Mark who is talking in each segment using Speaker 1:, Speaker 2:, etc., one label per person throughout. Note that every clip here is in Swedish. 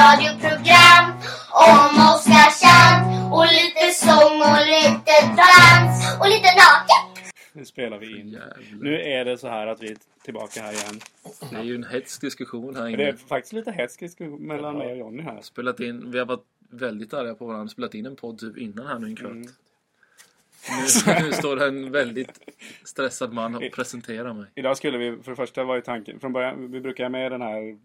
Speaker 1: radioprogram om Oskarshamn och lite sång och lite dans och lite naket.
Speaker 2: Nu spelar vi in.
Speaker 3: Jävlar.
Speaker 2: Nu är det så här att vi är tillbaka här igen.
Speaker 3: Det är ju en hetsk diskussion här
Speaker 2: Det är
Speaker 3: inne.
Speaker 2: faktiskt lite hetsk diskussion mellan mig och Jonny här.
Speaker 3: Spelat in, vi har varit väldigt arga på varandra. Spelat in en podd typ innan här nu
Speaker 2: Mm.
Speaker 3: en kvart. Nu, nu står det en väldigt stressad man och presenterar mig.
Speaker 2: Idag skulle vi, för det första var ju tanken, från början, vi brukar ha med den här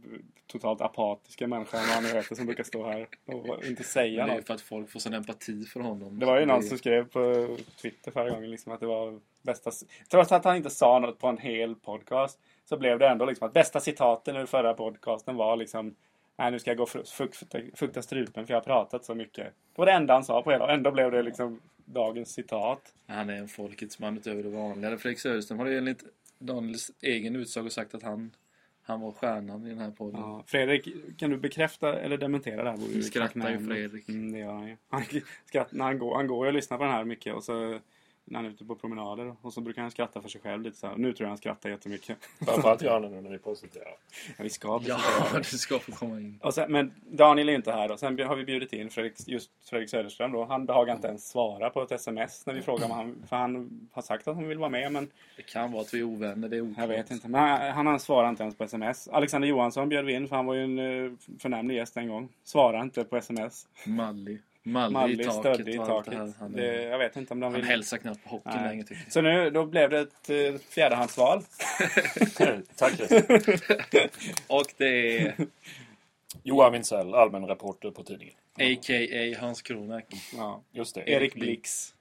Speaker 2: totalt apatiska människan, vad han nu heter, som brukar stå här och inte säga
Speaker 3: Men det är
Speaker 2: något.
Speaker 3: för att folk får sån empati för honom.
Speaker 2: Det var ju
Speaker 3: Det-
Speaker 2: någon som skrev på Twitter förra gången liksom att det var bästa... Trots att han inte sa något på en hel podcast så blev det ändå liksom att bästa citaten ur förra podcasten var liksom Nej, nu ska jag gå och fru- fukta, fukta strupen för jag har pratat så mycket. Det var det enda han sa på hela... Ändå blev det liksom dagens citat.
Speaker 3: Han är en folkets man utöver det vanliga. Fredrik Söderström har ju enligt Daniels egen utsago sagt att han, han var stjärnan i den här podden.
Speaker 2: Ja. Fredrik, kan du bekräfta eller dementera det här? Vore ju
Speaker 3: skrattar ju
Speaker 2: tacknämligt.
Speaker 3: Fredrik.
Speaker 2: Mm, det gör han ju. Han, skratt, när han, går, han går ju och lyssnar på den här mycket och så när han är ute på promenader och så brukar han skratta för sig själv lite så här. Nu tror jag han skrattar jättemycket.
Speaker 4: Framförallt gör han det nu när vi är positiva.
Speaker 2: Ja, vi ska bli
Speaker 3: Ja, du ska få komma in.
Speaker 2: Och sen, men Daniel är ju inte här då. Sen har vi bjudit in Fredrik, just Fredrik Söderström då. Han behagar inte ens svara på ett sms när vi frågar om han... För han har sagt att han vill vara med men
Speaker 3: Det kan vara att vi är ovänner, det är oklart.
Speaker 2: jag vet inte. Men han, han, han svarar inte ens på sms. Alexander Johansson bjöd vi in för han var ju en eh, förnämlig gäst en gång. Svarar inte på sms.
Speaker 3: Malli. Malli, i
Speaker 2: Mallig
Speaker 3: taket.
Speaker 2: stöddig i
Speaker 3: och allt det här.
Speaker 2: taket.
Speaker 3: Han,
Speaker 2: Det,
Speaker 3: är,
Speaker 2: jag vet inte om de
Speaker 3: han
Speaker 2: vill...
Speaker 3: hälsar knappt på hockeyn
Speaker 2: Nej.
Speaker 3: längre tycker jag.
Speaker 2: Så nu då blev det ett eh, fjärdehandsval.
Speaker 4: Tack Christer.
Speaker 3: Och det är
Speaker 4: Johan Wintzell, allmän reporter på tidningen.
Speaker 3: a.k.a. Hans Kronak.
Speaker 2: Ja.
Speaker 4: Just det.
Speaker 2: Erik Blix.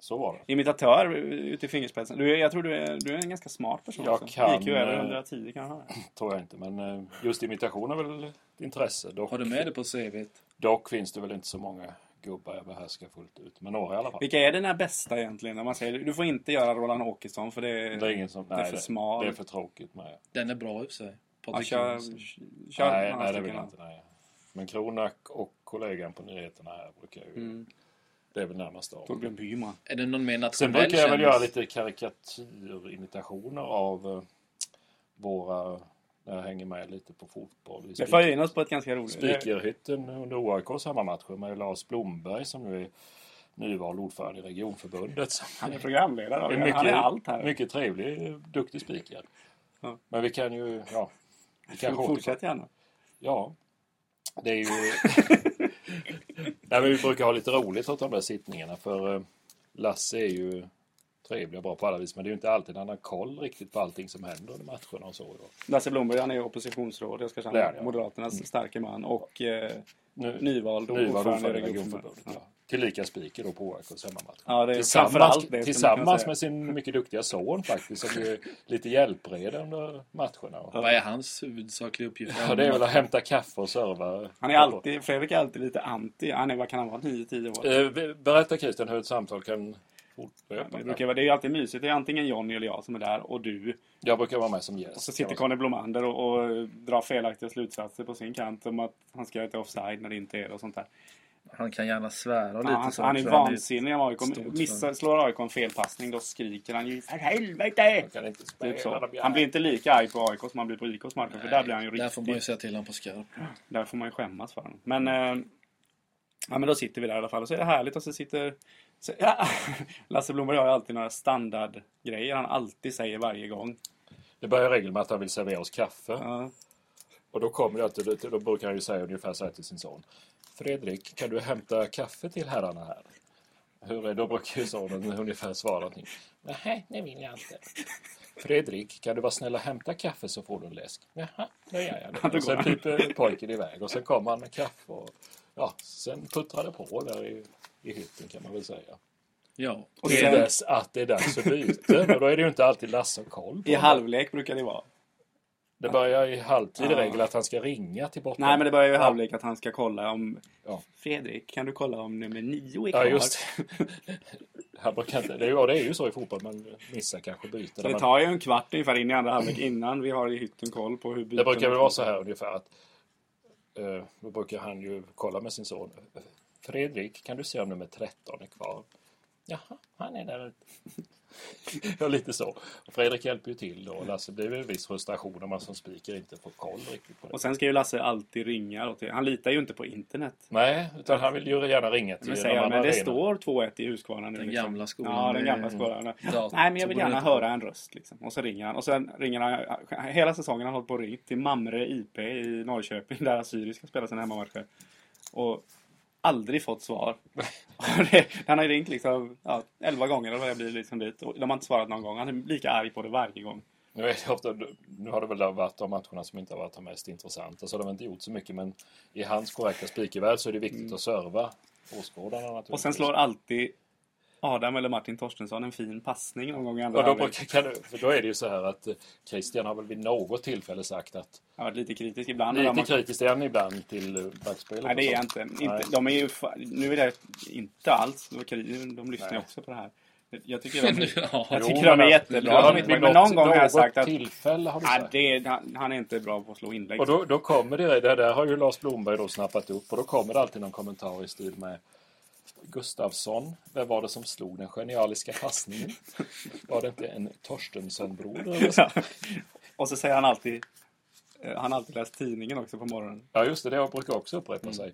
Speaker 4: Så var det.
Speaker 2: Imitatör eh, ut i fingerspetsen. Du, är- jag tror du är, du är en ganska smart person.
Speaker 4: Jag
Speaker 2: också.
Speaker 4: kan,
Speaker 2: IQ över
Speaker 4: eh,
Speaker 2: 110 kan han ha.
Speaker 4: Tror jag inte. Men eh, just imitation är väl ett intresse. Dock,
Speaker 3: Har du med det på CVt?
Speaker 4: dock finns det väl inte så många gubbar jag behärskar fullt ut. Men några i alla fall.
Speaker 2: Vilka är dina bästa egentligen? När man säger du får inte göra Roland Åkesson för det är...
Speaker 4: Det är ingen som...
Speaker 2: är
Speaker 4: Nej,
Speaker 2: för
Speaker 4: det,
Speaker 2: smal.
Speaker 4: det är för tråkigt med.
Speaker 3: Den är bra i och för sig.
Speaker 2: Ja,
Speaker 3: Patrik
Speaker 2: kör,
Speaker 3: Johansson.
Speaker 2: kör
Speaker 4: nej,
Speaker 2: några
Speaker 4: nej, det
Speaker 2: stycken
Speaker 4: vill jag
Speaker 2: då.
Speaker 4: inte. Nej. Men Kronak och kollegan på nyheterna här brukar ju...
Speaker 2: Mm.
Speaker 4: Det är väl närmast av.
Speaker 2: Torbjörn Byman.
Speaker 3: Är det någon mer
Speaker 4: Sen
Speaker 3: nationell
Speaker 4: brukar jag väl
Speaker 3: kändis?
Speaker 4: göra lite karikatyrimitationer av eh, våra... När jag hänger med lite på fotboll. i
Speaker 2: Vi
Speaker 4: speaker-
Speaker 2: för in oss på ett ganska roligt...
Speaker 4: Spikerhytten under OAKs hemmamatcher med Lars Blomberg som nu är nyvald ordförande i regionförbundet.
Speaker 2: Han är programledare.
Speaker 4: Det
Speaker 2: och
Speaker 4: är
Speaker 2: han är allt här.
Speaker 4: Mycket trevlig, duktig spiker.
Speaker 2: Ja.
Speaker 4: Men vi kan ju... Ja, vi kan
Speaker 2: Fortsätt gärna.
Speaker 4: Ja. Det är ju... Nej, men vi brukar ha lite roligt åt de där sittningarna för eh, Lasse är ju trevlig och bra på alla vis men det är ju inte alltid han har koll riktigt på allting som händer under matcherna och så.
Speaker 2: Lasse Blomberg, han är oppositionsråd i
Speaker 4: Det är han,
Speaker 2: Oskarshamn.
Speaker 4: ja.
Speaker 2: Moderaternas starke man och eh,
Speaker 4: Nu,
Speaker 2: nyvald
Speaker 4: Nyvald
Speaker 2: ordförande
Speaker 4: ordförande
Speaker 2: i
Speaker 4: i
Speaker 2: regionförbundet.
Speaker 4: regionförbundet. Ja. Tillika spiker då på OAKs hemmamatch.
Speaker 2: Ja, det är framförallt det,
Speaker 4: Tillsammans,
Speaker 2: skulle man kunna
Speaker 4: tillsammans
Speaker 2: säga.
Speaker 4: med sin mycket duktiga son faktiskt som ju är lite hjälpreda under matcherna.
Speaker 3: Vad är hans huvudsakliga uppgift?
Speaker 4: Ja, det är väl att hämta kaffe och serva.
Speaker 2: Han är alltid, Fredrik är alltid lite anti. Han är, vad kan han vara, 9-10 år?
Speaker 4: Eh, Berätta Christian hur ett samtal kan fortlöpa.
Speaker 2: Det, brukar, vara- det är ju alltid mysigt. Det är antingen Jonny eller jag som är där och du.
Speaker 4: Jag brukar vara med som gäst.
Speaker 2: Och så sitter Conny Blomander och, och drar felaktiga slutsatser på sin kant om att han ska göra ett offside när det inte är det och sånt där.
Speaker 3: Han kan gärna svära
Speaker 2: Ja,
Speaker 3: lite.
Speaker 2: han,
Speaker 3: så
Speaker 2: han är
Speaker 3: också.
Speaker 2: vansinnig om AIK
Speaker 3: stort
Speaker 2: missar, slår AIK en felpassning. Då skriker han ju för helvete!
Speaker 4: Jag kan inte spela
Speaker 2: Typ så.
Speaker 4: de jävla-
Speaker 2: Han blir inte lika arg på AIK som han blir på IKs matcher. För där blir han ju
Speaker 3: Nej, Där får man ju
Speaker 2: riktigt...
Speaker 3: säga till honom på skarp.
Speaker 2: Där får man ju skämmas för honom. Men,
Speaker 3: Mm.
Speaker 2: eh, ja, men då sitter vi där i alla fall. Och så är det härligt. Och så sitter... Så, ja, Lasse Blomberg har ju alltid några standardgrejer han alltid säger varje gång.
Speaker 4: Det börjar regeln med att han vill servera oss kaffe.
Speaker 2: Ja.
Speaker 4: Och då kommer det att, då- då brukar han ju säga ungefär så här till sin son. Fredrik, kan du hämta kaffe till herrarna här? Hur är, då brukar ju sonen ungefär svara någonting. Nej, det vill jag inte. Fredrik, kan du vara snäll och hämta kaffe så får du en läsk? Jaha, det gör
Speaker 2: då
Speaker 4: jag. Då. Och
Speaker 2: går
Speaker 4: sen
Speaker 2: han.
Speaker 4: piper pojken iväg och sen kommer han med kaffe och ja, sen puttrar det på där i, i hytten kan man väl säga.
Speaker 3: Ja.
Speaker 2: Och
Speaker 4: Till
Speaker 2: sen,
Speaker 4: dess att det är dags att byta. Och då är det ju inte alltid Lasse och koll på
Speaker 2: I
Speaker 4: det.
Speaker 2: halvlek brukar det vara.
Speaker 4: Det börjar i halvtid i
Speaker 2: Ja.
Speaker 4: regel att han ska ringa till botten.
Speaker 2: Nej, men det börjar ju i halvlek att han ska kolla om...
Speaker 4: Ja.
Speaker 2: Fredrik, kan du kolla om nummer nio är kvar?
Speaker 4: Ja, just det. Han brukar inte... det. är- Ja, det är ju så i fotboll. Man missar kanske byten.
Speaker 2: Så det
Speaker 4: Men
Speaker 2: tar ju en kvart ungefär in i andra halvlek innan vi har i hytten koll på hur bytena
Speaker 4: Mm. det brukar väl vara så här ungefär att eh, då brukar han ju kolla med sin son. Fredrik, kan du se om nummer 13 är kvar? Jaha, han är där ute. ja, lite så. Fredrik hjälper ju till då. Lasse blir väl en viss frustration när man som speaker inte får koll riktigt på det.
Speaker 2: Och sen ska ju Lasse alltid ringa. Och till, han litar ju inte på internet.
Speaker 4: Nej, utan han vill ju gärna ringa till
Speaker 2: Men,
Speaker 4: en
Speaker 2: säger, han,
Speaker 4: annan
Speaker 2: men det
Speaker 4: arena.
Speaker 2: står 2-1 i Huskvarna nu.
Speaker 3: Den
Speaker 2: liksom.
Speaker 3: gamla skolan.
Speaker 2: Ja, den
Speaker 3: med-
Speaker 2: gamla skolan.
Speaker 3: Ja,
Speaker 2: Nej, men
Speaker 3: så
Speaker 2: jag vill
Speaker 3: borde
Speaker 2: gärna
Speaker 3: det inte
Speaker 2: höra en röst. Liksom. Och så ringer han. Och sen ringer han. Hela säsongen har han hållit på och ringt till Mamre IP i Norrköping där Assyrier ska spela sina hemmamatcher. Och aldrig fått svar. Och det- han har ju ringt liksom ja, 11 gånger eller vad det blir liksom dit. Och de har inte svarat någon gång. Han är lika arg på det varje gång.
Speaker 4: Nu, är det ofta, nu har det väl varit de matcherna som inte har varit de mest intressanta, så de har inte gjort så mycket. Men i hans korrekta speakervärld så är det viktigt att serva åskådarna naturligtvis.
Speaker 2: Mm. Och sen slår alltid Adam eller Martin Torstensson en fin passning någon gång i andra
Speaker 4: Ja, då,
Speaker 2: halvlek.
Speaker 4: brukar- kan, du- för då är det ju så här att eh, Christian har väl vid något tillfälle sagt att
Speaker 2: Jag har varit lite kritisk ibland.
Speaker 4: lite
Speaker 2: men de har-
Speaker 4: kritiskt är han ibland till eh, backspelet.
Speaker 2: Nej, det är jag
Speaker 4: och sånt.
Speaker 2: inte.
Speaker 4: Nej.
Speaker 2: inte de är ju, fa- nu är det inte alls. De, de lyssnar ju
Speaker 4: Nej.
Speaker 2: också på det här. Jag tycker de,
Speaker 3: Ja.
Speaker 2: jag
Speaker 4: Jo,
Speaker 2: tycker de
Speaker 4: men
Speaker 2: är
Speaker 4: att-
Speaker 2: jättebra.
Speaker 4: Ja,
Speaker 2: De är inte-
Speaker 4: vid
Speaker 2: men någon gång har jag
Speaker 4: något
Speaker 2: sagt att
Speaker 4: tillfälle har du
Speaker 2: "Ah,
Speaker 4: sagt.
Speaker 2: det, är- han, han är inte bra på att slå inlägg.
Speaker 4: Och då, då kommer det, det där har ju Lars Blomberg då snappat upp och då kommer det alltid någon kommentar i stil med Gustavsson, vem var det som slog den genialiska passningen? Var det inte en Torstensson-broder? eller så?
Speaker 2: Ja. Och så säger han alltid eh, han har alltid läst tidningen också på morgonen.
Speaker 4: Ja, just det, det brukar också
Speaker 2: Mm.
Speaker 4: upprepa sig.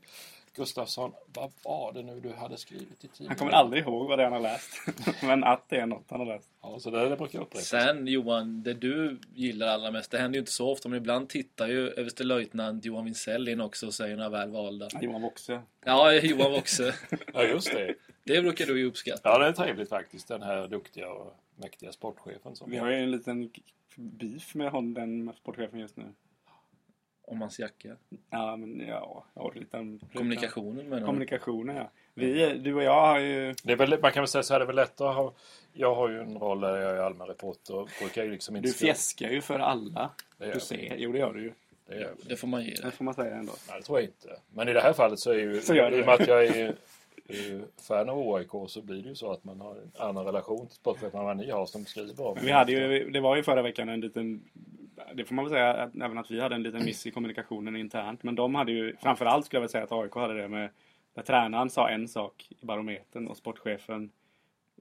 Speaker 4: Gustavsson, vad var det nu du hade skrivit i tidningen?
Speaker 2: Han kommer aldrig ihåg vad det är han har läst. Men att det är något han har läst.
Speaker 4: Ja, så det, det brukar upprepa sig.
Speaker 3: Sen Johan, det du gillar allra mest, det händer ju inte så ofta, men ibland tittar ju överstelöjtnant Johan Wintzell in också och säger några väl valda.
Speaker 2: Johan Woxe.
Speaker 3: Ja, Johan också.
Speaker 4: Ja, just det.
Speaker 3: Det brukar du ju uppskatta.
Speaker 4: Ja, det är trevligt faktiskt, den här duktiga och mäktiga sportchefen. Som
Speaker 2: Vi har ju en liten beef med hon, den sportchefen just nu.
Speaker 3: Om hans jacka.
Speaker 2: Ja, men ja. Jag har lite
Speaker 3: Kommunikationen menar du?
Speaker 2: Kommunikationen, ja. Vi, du och jag har ju...
Speaker 4: Det är väl, man kan väl säga så här, det är väl lättare att ha... Jag har ju en roll där jag är allmän reporter och brukar ju liksom inte...
Speaker 2: Du fjäskar ju för alla
Speaker 4: Det gör
Speaker 2: du
Speaker 4: jag.
Speaker 2: ser. Jo, det gör du ju.
Speaker 4: Det gör jag.
Speaker 3: Det får man ge
Speaker 2: Det
Speaker 3: dig.
Speaker 2: får man säga ändå.
Speaker 4: Nej, det tror jag inte. Men i det här fallet så är ju...
Speaker 2: Så gör du
Speaker 4: I och med
Speaker 2: det.
Speaker 4: att jag är eh, fan av AIK så blir det ju så att man har en annan relation till sportchefen än vad ni har som skriver om.
Speaker 2: Men vi hade ju, det var ju förra veckan en liten... Det får man väl säga att, även att vi hade en liten miss i kommunikationen internt. Men de hade ju, framförallt skulle jag väl säga att AIK hade det med... Där tränaren sa en sak i Barometern och sportchefen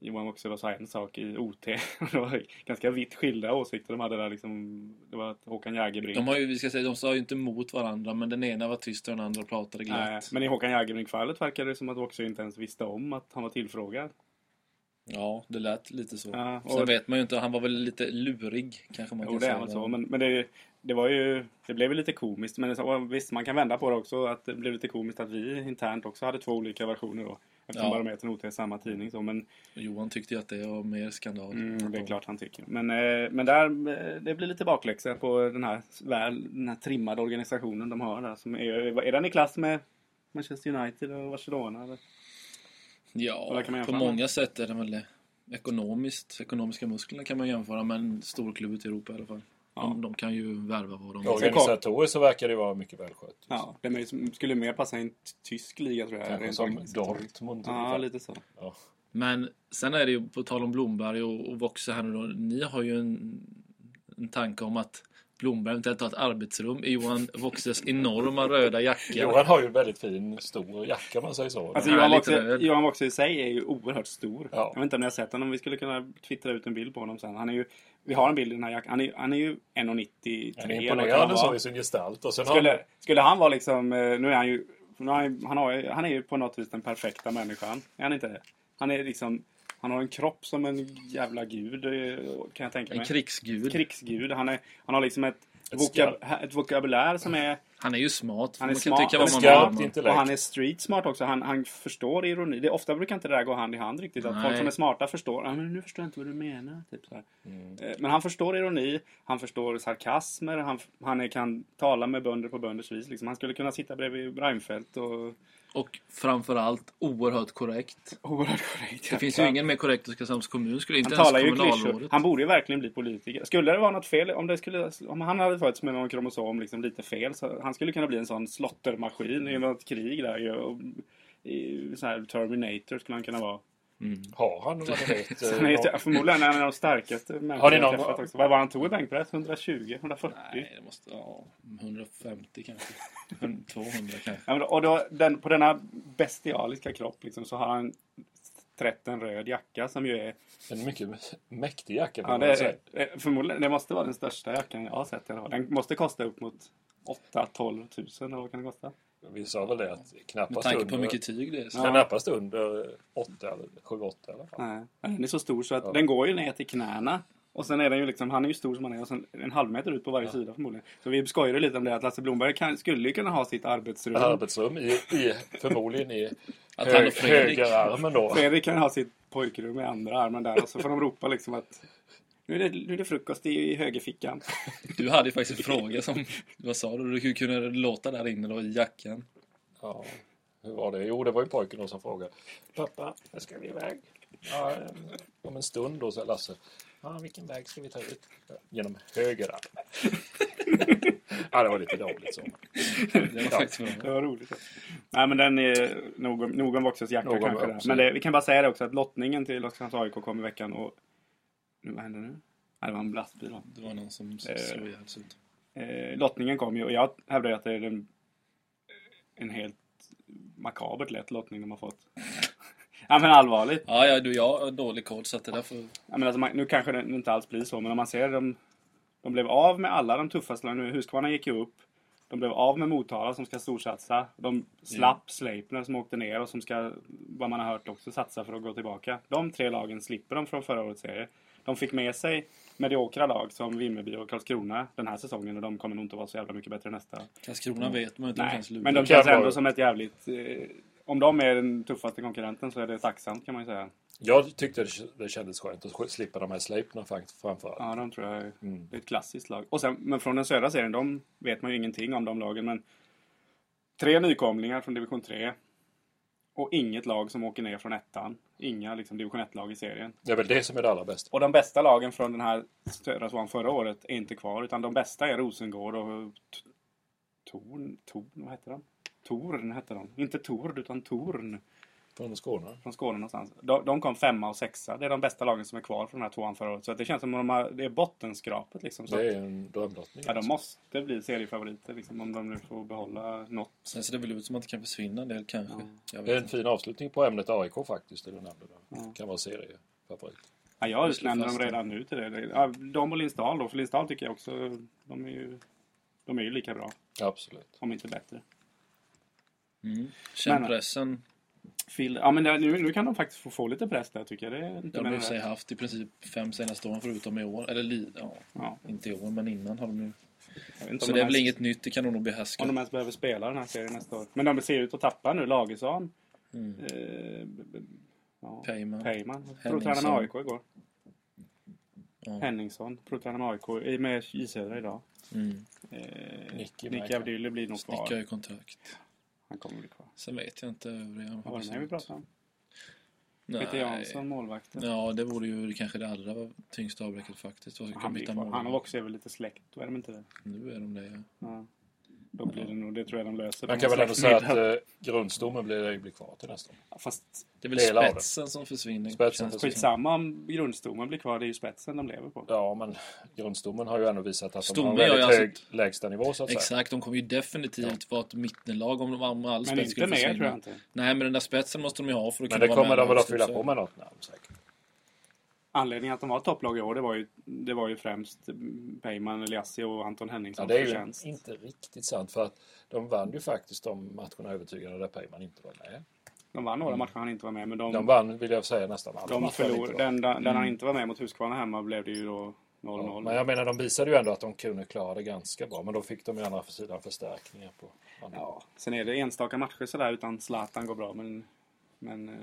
Speaker 2: Johan Voxelov sa en sak i OT. Det var ganska vitt skilda åsikter de hade där liksom. Det var att Håkan Jägerbrink
Speaker 3: De har ju, vi ska säga, de sa ju inte mot varandra, men den ena var tyst och den andra pratade
Speaker 2: Nej,
Speaker 3: glatt.
Speaker 2: men i Håkan Jägerbrink-fallet verkar det som att Voxö inte ens visste om att han var tillfrågad.
Speaker 3: Ja, det lät lite så.
Speaker 2: Ja, och-
Speaker 3: Sen vet man ju inte, han var väl lite lurig kanske man
Speaker 2: Jo,
Speaker 3: kan
Speaker 2: det är
Speaker 3: säga.
Speaker 2: väl så. Men, men det, det var ju... Det blev ju lite komiskt. Men det, så- visst, man kan vända på det också. Att det blev lite komiskt att vi internt också hade två olika versioner då. Eftersom
Speaker 3: Ja.
Speaker 2: Barometern och OT är samma tidning. Så, men
Speaker 3: Johan tyckte ju att det var mer skandal.
Speaker 2: mm, det är klart han tycker. Men, eh, men där, eh, det blir lite bakläxa på den här, väl, den här trimmade organisationen de har där. Som är, är den i klass med Manchester United och Barcelona? Eller? Vad
Speaker 3: Ja,
Speaker 2: kan man
Speaker 3: på
Speaker 2: jämföra med?
Speaker 3: många sätt är det väl det. Ekonomiskt, ekonomiska musklerna kan man jämföra med en storklubb ute i Europa i alla fall. De,
Speaker 2: Mm.
Speaker 3: de kan ju värva vad de vill.
Speaker 4: Organisatoriskt så verkar det vara mycket välskött.
Speaker 2: Ja, den är- skulle mer passa i en t- tysk liga tror jag.
Speaker 4: Kanske
Speaker 2: rent
Speaker 4: som
Speaker 2: organisatoriskt.
Speaker 4: Dortmund.
Speaker 2: Ja,
Speaker 4: ungefär.
Speaker 2: lite så.
Speaker 4: Ja.
Speaker 3: Men sen är det ju, på tal om Blomberg och, och Voxe här nu då. Ni har ju en, en tanke om att Blomberg eventuellt har ett arbetsrum i Johan Voxes enorma röda jacka.
Speaker 4: Johan har ju en väldigt fin, stor jacka om man säger så.
Speaker 2: Alltså
Speaker 3: Den här
Speaker 2: Johan
Speaker 3: är
Speaker 2: Voxer-
Speaker 3: lite röd.
Speaker 2: Johan Voxer i sig är ju oerhört stor.
Speaker 4: Ja.
Speaker 2: Jag vet inte om ni har sett honom. Vi skulle kunna twittra ut en bild på honom sen. Han är ju, vi har en bild i den här jackan. Han är, han är ju 1,93.
Speaker 4: Han är
Speaker 2: eller vad kan han
Speaker 4: imponerande
Speaker 2: vara?
Speaker 4: så i sin gestalt. Och sen har,
Speaker 2: skulle, skulle han vara liksom... eh, Nu är han ju... Nu har han, han, har, ju- han är ju på något vis den perfekta människan. Är han inte det? Han är liksom... Han har en kropp som en jävla gud, eh, kan jag tänka
Speaker 3: En
Speaker 2: mig.
Speaker 3: krigsgud.
Speaker 2: Krigsgud. Han, är, han har liksom ett,
Speaker 4: Ett
Speaker 2: vokab, ett vokabulär som är...
Speaker 3: Han är ju smart.
Speaker 2: Han är
Speaker 3: man kan
Speaker 2: smart,
Speaker 3: tycka
Speaker 2: han
Speaker 3: vad
Speaker 2: är
Speaker 3: man
Speaker 4: skarp,
Speaker 3: vill. om honom.
Speaker 4: inte- intellekt.
Speaker 2: Och han är street smart också. Han, han förstår ironi. Det, ofta brukar inte det där gå hand i hand riktigt. Att
Speaker 3: Nej.
Speaker 2: folk som är smarta förstår. Ah, men nu förstår jag inte vad du menar. Typ så här.
Speaker 3: Mm.
Speaker 2: Eh, Men han förstår ironi. Han förstår sarkasmer. Han, han är, kan tala med bönder på bönders vis. Liksom. Han skulle kunna sitta bredvid Reinfeldt och...
Speaker 3: Och framförallt oerhört korrekt.
Speaker 2: Oerhört korrekt.
Speaker 3: Det finns ju ingen mer korrekt i Oskarshamns kommun. Skulle inte
Speaker 2: Han
Speaker 3: ens
Speaker 2: talar ju klyschor.
Speaker 3: kommunalrådet.
Speaker 2: Han borde ju verkligen bli politiker. Skulle det vara något fel, om, det skulle, om han hade fötts med någon kromosom liksom lite fel, så han skulle kunna bli en sån slottermaskin i något krig där ju. Och, i, så här Terminator skulle han kunna vara.
Speaker 4: har han vad ni vet,
Speaker 2: Så Han är
Speaker 4: eh,
Speaker 2: ju förmodligen en av de starkaste människorna
Speaker 4: Har ni
Speaker 2: jag
Speaker 4: någon-
Speaker 2: träffat också. Vad var han tog i bänkpress? 120? 140?
Speaker 3: Nej, det måste... Ja, 150 kanske. 200 kanske.
Speaker 2: Ja, men, då- och då, den, på denna bestialiska kropp liksom, så har han trätt en röd jacka som ju är...
Speaker 4: En mycket mäktig jacka.
Speaker 2: Ja, det, är eh, förmodligen, det måste vara den största jackan jag har sett i alla fall. Den måste kosta upp mot 8-12 tusen eller vad kan det kosta?
Speaker 4: Vi sa väl det att
Speaker 3: Med
Speaker 4: knappast
Speaker 3: tanke på
Speaker 4: under,
Speaker 3: hur mycket tyg det är. Så.
Speaker 2: Ja.
Speaker 4: knappast under 8 eller 7-8 i alla fall.
Speaker 2: Nej. Men Den är så stor så att
Speaker 4: Ja.
Speaker 2: den går ju ner till knäna. Och sen är den ju liksom, han är ju stor som han är och sen en halv meter ut på varje sida förmodligen. Så vi skojade lite om det att Lasse Blomberg kan, skulle ju kunna ha sitt arbetsrum.
Speaker 4: Ett arbetsrum i, i förmodligen i
Speaker 3: Att han
Speaker 4: hög,
Speaker 3: och Fredrik-
Speaker 4: högerarmen då.
Speaker 2: Fredrik kan ha sitt pojkrum i andra armen där och så får de ropa liksom att nu är det, nu är det frukost i, i högerfickan.
Speaker 3: Du hade ju faktiskt en fråga som... Vad sa du? Hur kunde det låta där inne då i jackan?
Speaker 4: Ja, hur var det? Jo, det var ju pojken då som frågade. Pappa, jag ska vi iväg? Ja, eh, om en stund då, sa Lasse. Ja, vilken väg ska vi ta ut? Genom höger arm. ja, det var lite dåligt så.
Speaker 3: Det var
Speaker 4: Ja.
Speaker 3: faktiskt bra.
Speaker 2: Det var roligt. Nej men den är nog, om- nog om Voxers jacka
Speaker 4: Nog om
Speaker 2: kanske. Där.
Speaker 4: Voxers.
Speaker 2: Men det, vi kan bara säga det också att lottningen till Oskarshamns AIK kom i veckan och... Nu, vad hände nu? Ja, det var en lastbil va?
Speaker 3: Det var någon som
Speaker 2: Eh.
Speaker 3: slog ihjäl sig.
Speaker 2: Eh, lottningen kom ju och jag hävdar ju att det är en, en helt makabert lätt lottning de har fått. ja men allvarligt.
Speaker 3: Ja, ja, du, jag har dålig koll så att det där får...
Speaker 2: Ja, men alltså, man, nu kanske det inte alls blir så men om man ser dem. De blev av med alla de tuffaste lagen nu. Huskvarna gick ju upp. De blev av med Motala som ska storsatsa. De slapp Sleipner som åkte ner och som ska, vad man har hört också, satsa för att gå tillbaka. De tre lagen slipper de från förra årets serie. De fick med sig mediokra lag som Vimmerby och Karlskrona den här säsongen och de kommer nog inte vara så jävla mycket bättre nästa.
Speaker 3: Karlskrona vet man ju inte. om
Speaker 2: Mm. Nej,
Speaker 3: kanske Luleå.
Speaker 2: men de
Speaker 4: kan
Speaker 2: känns
Speaker 4: vara-
Speaker 2: ändå som ett jävligt... Eh, om de är den tuffaste konkurrenten så är det tacksamt kan man ju säga.
Speaker 4: Jag tyckte det- det kändes skönt att slippa de här Sleipner fakt- framför allt.
Speaker 2: Ja, de tror jag är
Speaker 4: Mm.
Speaker 2: det är ett klassiskt lag. Och sen, men från den södra serien, de vet man ju ingenting om de lagen. Men tre nykomlingar från division 3 och inget lag som åker ner från ettan. Inga liksom, division 1-lag i serien.
Speaker 4: Det är väl det som är det allra bästa.
Speaker 2: Och de bästa lagen från den här södra tvåan förra året är inte kvar. Utan de bästa är Rosengård och T- Torn. Torn, vad hette de? Torn hette de. Inte Tord, utan Torn.
Speaker 4: Från Skåne.
Speaker 2: från Skåne någonstans. De, de kom femma och sexa. Det är de bästa lagen som är kvar från den här tvåan förra året. Så att det känns som att de har, det är bottenskrapet liksom. Så
Speaker 4: Det
Speaker 2: att,
Speaker 4: är en drömlottning.
Speaker 2: ja, de
Speaker 4: alltså.
Speaker 2: måste bli seriefavoriter liksom, om de nu får behålla något.
Speaker 3: Sen ser det väl ut som att det kan försvinna en del kanske.
Speaker 2: Ja. Eh,
Speaker 3: Jag
Speaker 4: Det är
Speaker 3: vet
Speaker 4: en
Speaker 3: inte.
Speaker 4: fin avslutning på ämnet AIK faktiskt. Det du nämnde. där.
Speaker 2: Ja.
Speaker 4: Kan vara seriefavorit.
Speaker 2: Ja, jag
Speaker 3: Vi slår
Speaker 2: utnämner dem
Speaker 3: fast det.
Speaker 2: redan nu till det. Det- Ja, de och Lindsdal då. För Lindsdal tycker jag också, de är ju, de är ju lika bra.
Speaker 4: Absolut.
Speaker 2: Om inte bättre.
Speaker 3: Mm. Känn
Speaker 2: Men-
Speaker 3: pressen.
Speaker 2: Phil, ja, men det, nu, nu kan de faktiskt få, få lite press där tycker jag. Det är inte
Speaker 3: De har
Speaker 2: mer än
Speaker 3: ju i och för sig
Speaker 2: rätt.
Speaker 3: haft i princip fem senaste åren förutom i år. Eller li- ja,
Speaker 2: ja,
Speaker 3: inte i år men innan har de ju...
Speaker 2: jag vet inte
Speaker 3: Så
Speaker 2: om
Speaker 3: det
Speaker 2: de
Speaker 3: är väl
Speaker 2: ens-
Speaker 3: inget nytt, det kan de nog
Speaker 2: Om de
Speaker 3: behärska.
Speaker 2: ens behöver spela den här serien nästa år. Men de ser ut att tappa nu. Lagesson.
Speaker 3: Mm.
Speaker 2: Eh, b- b- ja.
Speaker 3: Pejman.
Speaker 2: Pejman,
Speaker 3: Henningsson.
Speaker 2: provtränare med AIK igår.
Speaker 3: Ja.
Speaker 2: Henningsson, provtränare med AIK, i- med J Södra idag.
Speaker 3: Mm.
Speaker 2: Eh,
Speaker 4: Nicky
Speaker 2: Nicky
Speaker 4: Bergkamp.
Speaker 2: Abdulli blir nog
Speaker 3: Snickar
Speaker 2: kvar.
Speaker 3: ju kontrakt.
Speaker 2: Han kommer bli kvar.
Speaker 3: Sen vet jag inte övriga.
Speaker 2: Vad var det mer vi pratade om?
Speaker 3: Nej.
Speaker 2: Peter Jansson, målvakten.
Speaker 3: Ja, det vore ju kanske det allra tyngsta avbräcket faktiskt. Vad ska
Speaker 2: Han, blir
Speaker 3: byta
Speaker 2: kvar.
Speaker 3: mål?
Speaker 2: han och Vox är väl lite släkt, då är de inte det?
Speaker 3: Nu är de det, ja.
Speaker 2: Ja. Då blir det nog, det tror jag de löser.
Speaker 4: Man
Speaker 2: på
Speaker 4: kan
Speaker 2: någon
Speaker 4: väl ändå
Speaker 2: slags
Speaker 4: säga
Speaker 2: middag.
Speaker 4: att eh, grundstommen blir, blir kvar till nästa år.
Speaker 2: Ja, Fast
Speaker 3: Det är väl
Speaker 4: Delar av det.
Speaker 3: spetsen som försvinner.
Speaker 4: Spetsen
Speaker 3: känns det som.
Speaker 2: skitsamma om grundstommen blir kvar, det är ju spetsen de lever på.
Speaker 4: Ja, men grundstommen har ju ändå visat att
Speaker 3: Stommen
Speaker 4: de har en
Speaker 3: gör
Speaker 4: väldigt
Speaker 3: ju
Speaker 4: hög
Speaker 3: alltså-
Speaker 4: lägstanivå så att säga.
Speaker 3: Exakt, de kommer ju definitivt vara ett mittenlag om de om all
Speaker 2: Men
Speaker 3: spets
Speaker 2: inte
Speaker 3: skulle
Speaker 2: mer
Speaker 3: försvinna.
Speaker 2: tror jag inte.
Speaker 3: Nej, men den där spetsen måste de ju ha för att
Speaker 4: Men
Speaker 3: kunna
Speaker 4: det
Speaker 3: vara
Speaker 4: kommer
Speaker 3: med
Speaker 4: de väl
Speaker 3: i
Speaker 4: att fylla
Speaker 3: landslaget.
Speaker 4: på med något namn säkert.
Speaker 2: Anledningen att de var topplag i år, det var ju, det var ju främst mm, Pejman, Eliassi och Anton
Speaker 4: Ja,
Speaker 2: Henningsson
Speaker 4: det är ju
Speaker 2: förtjänst.
Speaker 4: inte riktigt sant för att de vann ju faktiskt de matcherna övertygande där Peyman inte var med.
Speaker 2: De vann några matcher han inte var med, men de,
Speaker 4: Mm. De vann, vill jag säga, nästan alla
Speaker 2: De
Speaker 4: matcher han inte
Speaker 2: förlor,
Speaker 4: var med.
Speaker 2: den, den han inte var med mot Huskvarna hemma blev det ju då 0-0.
Speaker 4: Ja, men jag menar, de visade ju ändå att de kunde klara det ganska bra. Men då fick de ju andra sidan förstärkningar på andra.
Speaker 2: Ja, sen är det enstaka matcher sådär utan Zlatan går bra men, men eh,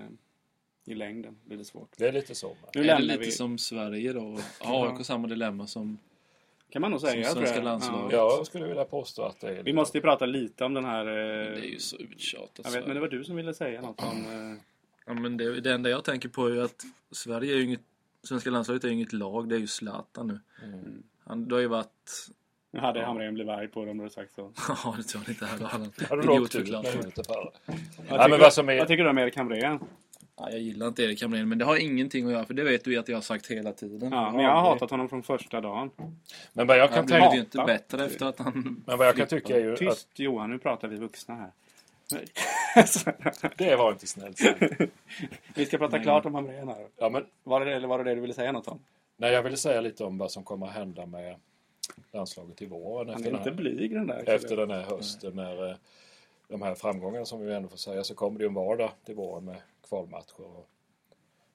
Speaker 2: i längden blir det svårt.
Speaker 4: Det är lite så. men-
Speaker 2: Nu
Speaker 3: Är det
Speaker 2: lämnar
Speaker 3: lite
Speaker 2: vi,
Speaker 3: som Sverige då?
Speaker 2: Ja.
Speaker 3: Ja, AIK samma dilemma som...
Speaker 2: kan man nog säga
Speaker 3: som
Speaker 2: tror
Speaker 3: svenska
Speaker 2: jag.
Speaker 3: landslaget.
Speaker 2: Ja.
Speaker 4: Jag skulle vilja påstå att det är...
Speaker 2: Vi måste ju prata lite om den här... eh,
Speaker 3: Det är ju så uttjatat.
Speaker 2: jag vet, men det var du som ville säga något om... eh,
Speaker 3: Ja, men det, det enda jag tänker på är ju att Sverige är ju inget... Svenska landslaget är ju inget lag, det är ju Zlatan nu.
Speaker 4: Mm.
Speaker 3: Han, det har ju varit...
Speaker 2: Nu hade Hamrén blivit arg på dem och sagt så.
Speaker 3: Ja, det tror jag inte här. Då hade
Speaker 4: Har
Speaker 3: han
Speaker 4: du åkt ut
Speaker 3: idiotförklarat
Speaker 4: några
Speaker 3: mig.
Speaker 4: minuter före?
Speaker 2: Vad,
Speaker 4: men
Speaker 2: tycker,
Speaker 4: vad som är-
Speaker 2: vad tycker du om Erik Hamrén?
Speaker 3: Ja, jag gillar inte Erik Hamrén, men det har ingenting att göra för det vet du ju att jag har sagt hela tiden.
Speaker 2: Ja, men jag har hatat honom från första dagen.
Speaker 4: Men vad jag
Speaker 3: Han
Speaker 4: kan
Speaker 3: blev ju
Speaker 4: tänka...
Speaker 3: inte
Speaker 2: hatat.
Speaker 3: bättre efter att han...
Speaker 4: Men vad jag kan tycka är ju att...
Speaker 2: Tyst Johan, nu pratar vi vuxna här.
Speaker 4: Det var inte snällt sagt.
Speaker 2: Vi ska prata
Speaker 3: Nej.
Speaker 2: klart om hamréerna.
Speaker 4: Ja, men
Speaker 2: Var det det, eller var det det du ville säga något om?
Speaker 4: Nej, jag ville säga lite om vad som kommer att hända med landslaget i våren
Speaker 2: Han
Speaker 4: efter,
Speaker 2: är inte
Speaker 4: den, här,
Speaker 2: blyg den där.
Speaker 4: efter den här hösten. När eh, de här framgångarna som vi ändå får säga så kommer det ju en vardag till våren med kvalmatcher. Och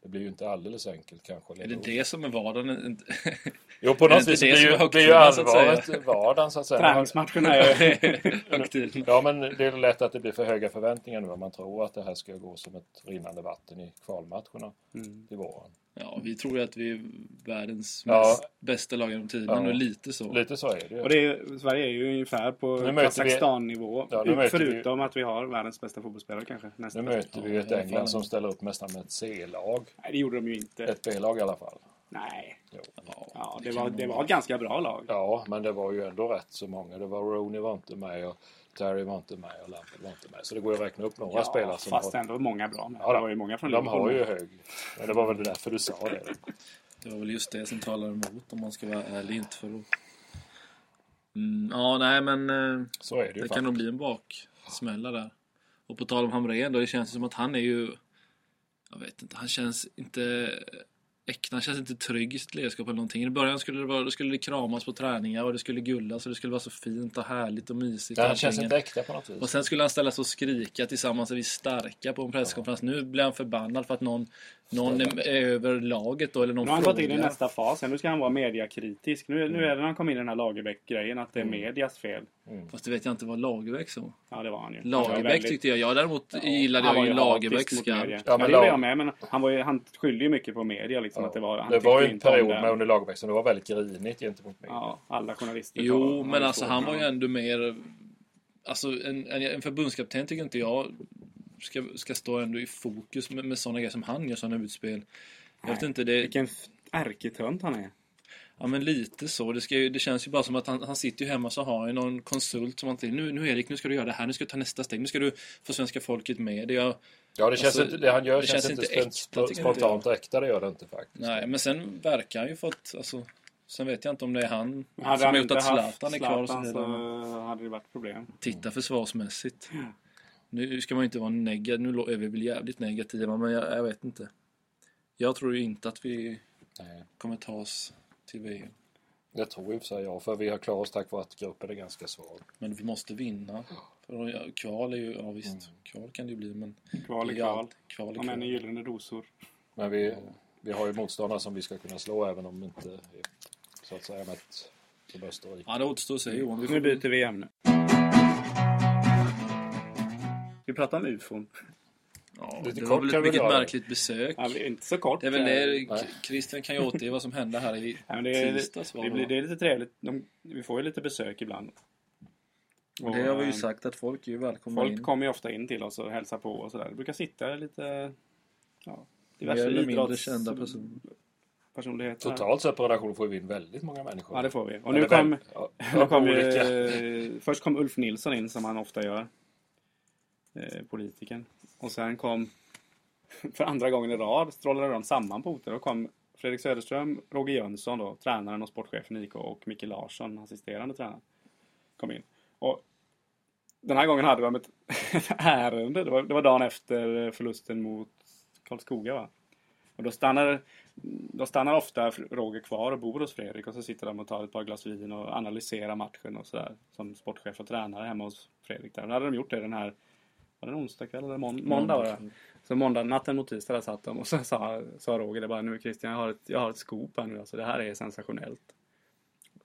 Speaker 4: det blir ju inte alldeles enkelt kanske. att
Speaker 3: Är
Speaker 4: leva
Speaker 3: det
Speaker 4: upp.
Speaker 3: det som är vardagen?
Speaker 4: Jo, på
Speaker 3: det
Speaker 4: något
Speaker 3: inte
Speaker 4: vis
Speaker 3: det
Speaker 4: blir
Speaker 3: som
Speaker 4: ju,
Speaker 3: är
Speaker 4: blir ju
Speaker 3: högtiderna, så att säga?
Speaker 4: allvaret vardagen så att säga. Man-
Speaker 2: Träningsmatcherna är
Speaker 3: Högtiden.
Speaker 4: Ja, men det är lätt att det blir för höga förväntningar nu. Man tror att det här ska gå som ett rinnande vatten i kvalmatcherna
Speaker 2: Mm.
Speaker 4: till våren.
Speaker 3: Ja, vi tror ju att vi är världens
Speaker 4: Ja.
Speaker 3: mest, bästa lag genom tiden
Speaker 4: Ja.
Speaker 3: och lite så.
Speaker 4: Lite så är det
Speaker 2: Och det
Speaker 4: ju.
Speaker 2: är, ju- Sverige är ju ungefär på
Speaker 4: Nu möter vi-
Speaker 2: Kazakstan-nivå.
Speaker 4: Ja, nu möter vi-
Speaker 2: förutom att vi har världens bästa fotbollsspelare kanske.
Speaker 4: Nu
Speaker 2: Nästa.
Speaker 4: möter vi ju
Speaker 3: Ja,
Speaker 4: ett
Speaker 3: i alla fall.
Speaker 4: England som ställer upp nästan med ett C-lag.
Speaker 2: Nej, det gjorde de ju inte.
Speaker 4: Ett B-lag i alla fall.
Speaker 2: Nej.
Speaker 3: Ja,
Speaker 2: Ja, det,
Speaker 3: kan
Speaker 2: var,
Speaker 3: nog-
Speaker 2: det var ett ganska bra lag.
Speaker 4: Ja, men det var ju ändå rätt så många. Det var Rooney var inte med och Terry var inte med och Lampard var inte med. Så det går ju att räkna upp några spelare som
Speaker 2: fast
Speaker 4: har,
Speaker 2: ändå många bra. Men
Speaker 4: Ja,
Speaker 2: det
Speaker 4: då.
Speaker 2: var ju många från
Speaker 4: de har
Speaker 2: Liverpool.
Speaker 4: ju hög. Men det var väl därför du sa det.
Speaker 3: Det var väl just det som talade emot om man ska vara ärlig inte för att... Mm, ja, nej men eh,
Speaker 4: Så är det ju
Speaker 3: det
Speaker 4: faktiskt.
Speaker 3: kan nog bli en baksmälla där. Och på tal om Hamrén då, det känns ju som att han är ju... Jag vet inte, han känns inte äkta, han känns inte trygg i sitt ledarskap eller någonting. I början skulle det, vara, då skulle det kramas på träningar och det skulle gullas och det skulle vara så fint och härligt och mysigt. och
Speaker 4: Den känns
Speaker 3: allting.
Speaker 4: inte äkta på något
Speaker 3: Och
Speaker 4: vis.
Speaker 3: sen skulle han ställa sig och skrika tillsammans är vi starka på en presskonferens. Nu blir han förbannad för att någon, någon är över laget då, eller någon
Speaker 2: Nu har han gått in i
Speaker 3: frågar.
Speaker 2: nästa fas. Nu ska han vara mediakritisk. Nu,
Speaker 4: Mm.
Speaker 2: nu är det när han kom in i den här Lagerbäck-grejen att det är medias fel.
Speaker 3: Fast det vet jag inte vad Lagerbäck så.
Speaker 2: Ja, det var han ju. Han var
Speaker 3: Lagerbäck
Speaker 2: väldigt-
Speaker 3: tyckte jag. Jag däremot gillade
Speaker 2: Han
Speaker 3: jag
Speaker 2: var
Speaker 3: ju
Speaker 2: hatisk
Speaker 3: Lagerbäck
Speaker 2: mot media.
Speaker 3: skarpt.
Speaker 2: Ja,
Speaker 4: Ja,
Speaker 2: men
Speaker 4: men
Speaker 2: det gjorde
Speaker 4: Lag-
Speaker 2: jag med. Men han, var ju, han skyllde ju mycket på media. Liksom, att det var, han
Speaker 4: det var ju
Speaker 2: tyckte
Speaker 4: en
Speaker 2: inte om
Speaker 4: period
Speaker 2: det.
Speaker 4: med under Lagerbäck som det var väldigt grinigt gentemot mig.
Speaker 2: Ja, alla journalister. talade
Speaker 3: Jo,
Speaker 2: om
Speaker 3: men
Speaker 2: det.
Speaker 3: alltså han var ju ändå mer... Alltså en, en, en förbundskapten tycker inte jag ska, ska stå ändå i fokus med, med sådana grejer som han gör, sådana utspel. Jag vet inte, det,
Speaker 2: Vilken f- ärketönt han är.
Speaker 3: Ja men lite så. Det, ska ju, det känns ju bara som att han, han sitter ju hemma så har ju någon konsult som han till. Nu, nu Erik, nu ska du göra det här. Nu ska du ta nästa steg. Nu ska du få svenska folket med dig. Jag,
Speaker 4: Ja, det känns
Speaker 3: Alltså,
Speaker 4: inte, det han gör
Speaker 3: det
Speaker 4: känns,
Speaker 3: känns
Speaker 4: inte,
Speaker 3: inte
Speaker 4: spont-
Speaker 3: äkta, tycker
Speaker 4: spontant äkta, det gör det inte faktiskt.
Speaker 3: nej, men sen verkar han ju fått... Alltså, sen vet jag inte om det är han
Speaker 2: Hade
Speaker 3: som
Speaker 2: han
Speaker 3: har gjort
Speaker 2: inte
Speaker 3: att
Speaker 2: haft
Speaker 3: Zlatan är kvar. och så
Speaker 2: Zlatan
Speaker 3: vidare.
Speaker 2: så hade det varit problem.
Speaker 3: Titta försvarsmässigt. Nu ska man ju inte vara negativ. Nu lå- är vi väl jävligt negativa, men jag, jag vet inte. Jag tror ju inte att vi
Speaker 4: Nej.
Speaker 3: kommer ta oss till E. VM.
Speaker 4: Det tror i och för sig jag, för vi har klarat oss tack vare att gruppen är ganska svag.
Speaker 3: Men vi måste vinna. För, ja, kval är ju... Ja visst, kval kan det ju bli, men...
Speaker 2: Mm. Kval är
Speaker 3: det är ju
Speaker 2: kval.
Speaker 3: allt- kval är
Speaker 2: Ja, men
Speaker 3: kval.
Speaker 2: i gyllene rosor.
Speaker 4: Men vi, vi har ju motståndare som vi ska kunna slå även om inte så att säga med ett som Österrike.
Speaker 3: Ja, det återstår att se Johan. Vi
Speaker 2: Nu
Speaker 3: får...
Speaker 2: byter vi ämne. Vi pratar om ufon.
Speaker 3: ja,
Speaker 4: Lite
Speaker 3: det
Speaker 4: kort
Speaker 3: var väl
Speaker 4: kan
Speaker 3: ett,
Speaker 4: vi
Speaker 3: vilket
Speaker 4: dra det.
Speaker 3: märkligt besök.
Speaker 2: Ja, det är inte så kort.
Speaker 3: Det är väl det,
Speaker 4: Nej.
Speaker 3: Christian kan ju återge vad som hände här i
Speaker 2: Ja, men det, är,
Speaker 3: tisdags.
Speaker 2: det, blir, det är lite trevligt. De, vi får ju lite besök ibland. Och,
Speaker 3: har vi
Speaker 2: eh,
Speaker 3: ju sagt att folk är ju välkomna
Speaker 2: Folk
Speaker 3: in.
Speaker 2: kommer ju ofta in till oss och hälsar på och sådär. Det brukar sitta lite ja,
Speaker 3: Mer
Speaker 2: diverse
Speaker 3: eller mindre
Speaker 2: idrotts-
Speaker 3: kända personer.
Speaker 2: personligheter. här.
Speaker 4: Totalt sett på redaktionen får vi in väldigt många människor.
Speaker 2: Ja, det får vi. Och
Speaker 4: Eller
Speaker 2: nu kom,
Speaker 4: väl- ja,
Speaker 2: nu kom ju,
Speaker 4: olika.
Speaker 2: eh, först kom Ulf Nilsson in som han ofta gör. Eh, politiken. Och sen kom, för andra gången i rad, strålade de samman på orter. Då kom Fredrik Söderström, Roger Jönsson då, tränaren och sportchefen i IK och Micke Larsson, assisterande tränare, kom in. Och den här gången hade de ett ärende. Det var, det var dagen efter förlusten mot Karlskoga va? Och då stannar, då stannar ofta Roger kvar och bor hos Fredrik och så sitter de och tar ett par glas vin och analyserar matchen och sådär. Som sportchef och tränare hemma hos Fredrik där. Och då hade de gjort det den här, var det en onsdag kväll eller mån, måndag var det?
Speaker 3: Mm.
Speaker 2: Så måndag, natten mot tisdag där satt de och så sa, sa Roger det bara nu Christian jag har ett, jag har ett scoop här nu alltså det här är sensationellt.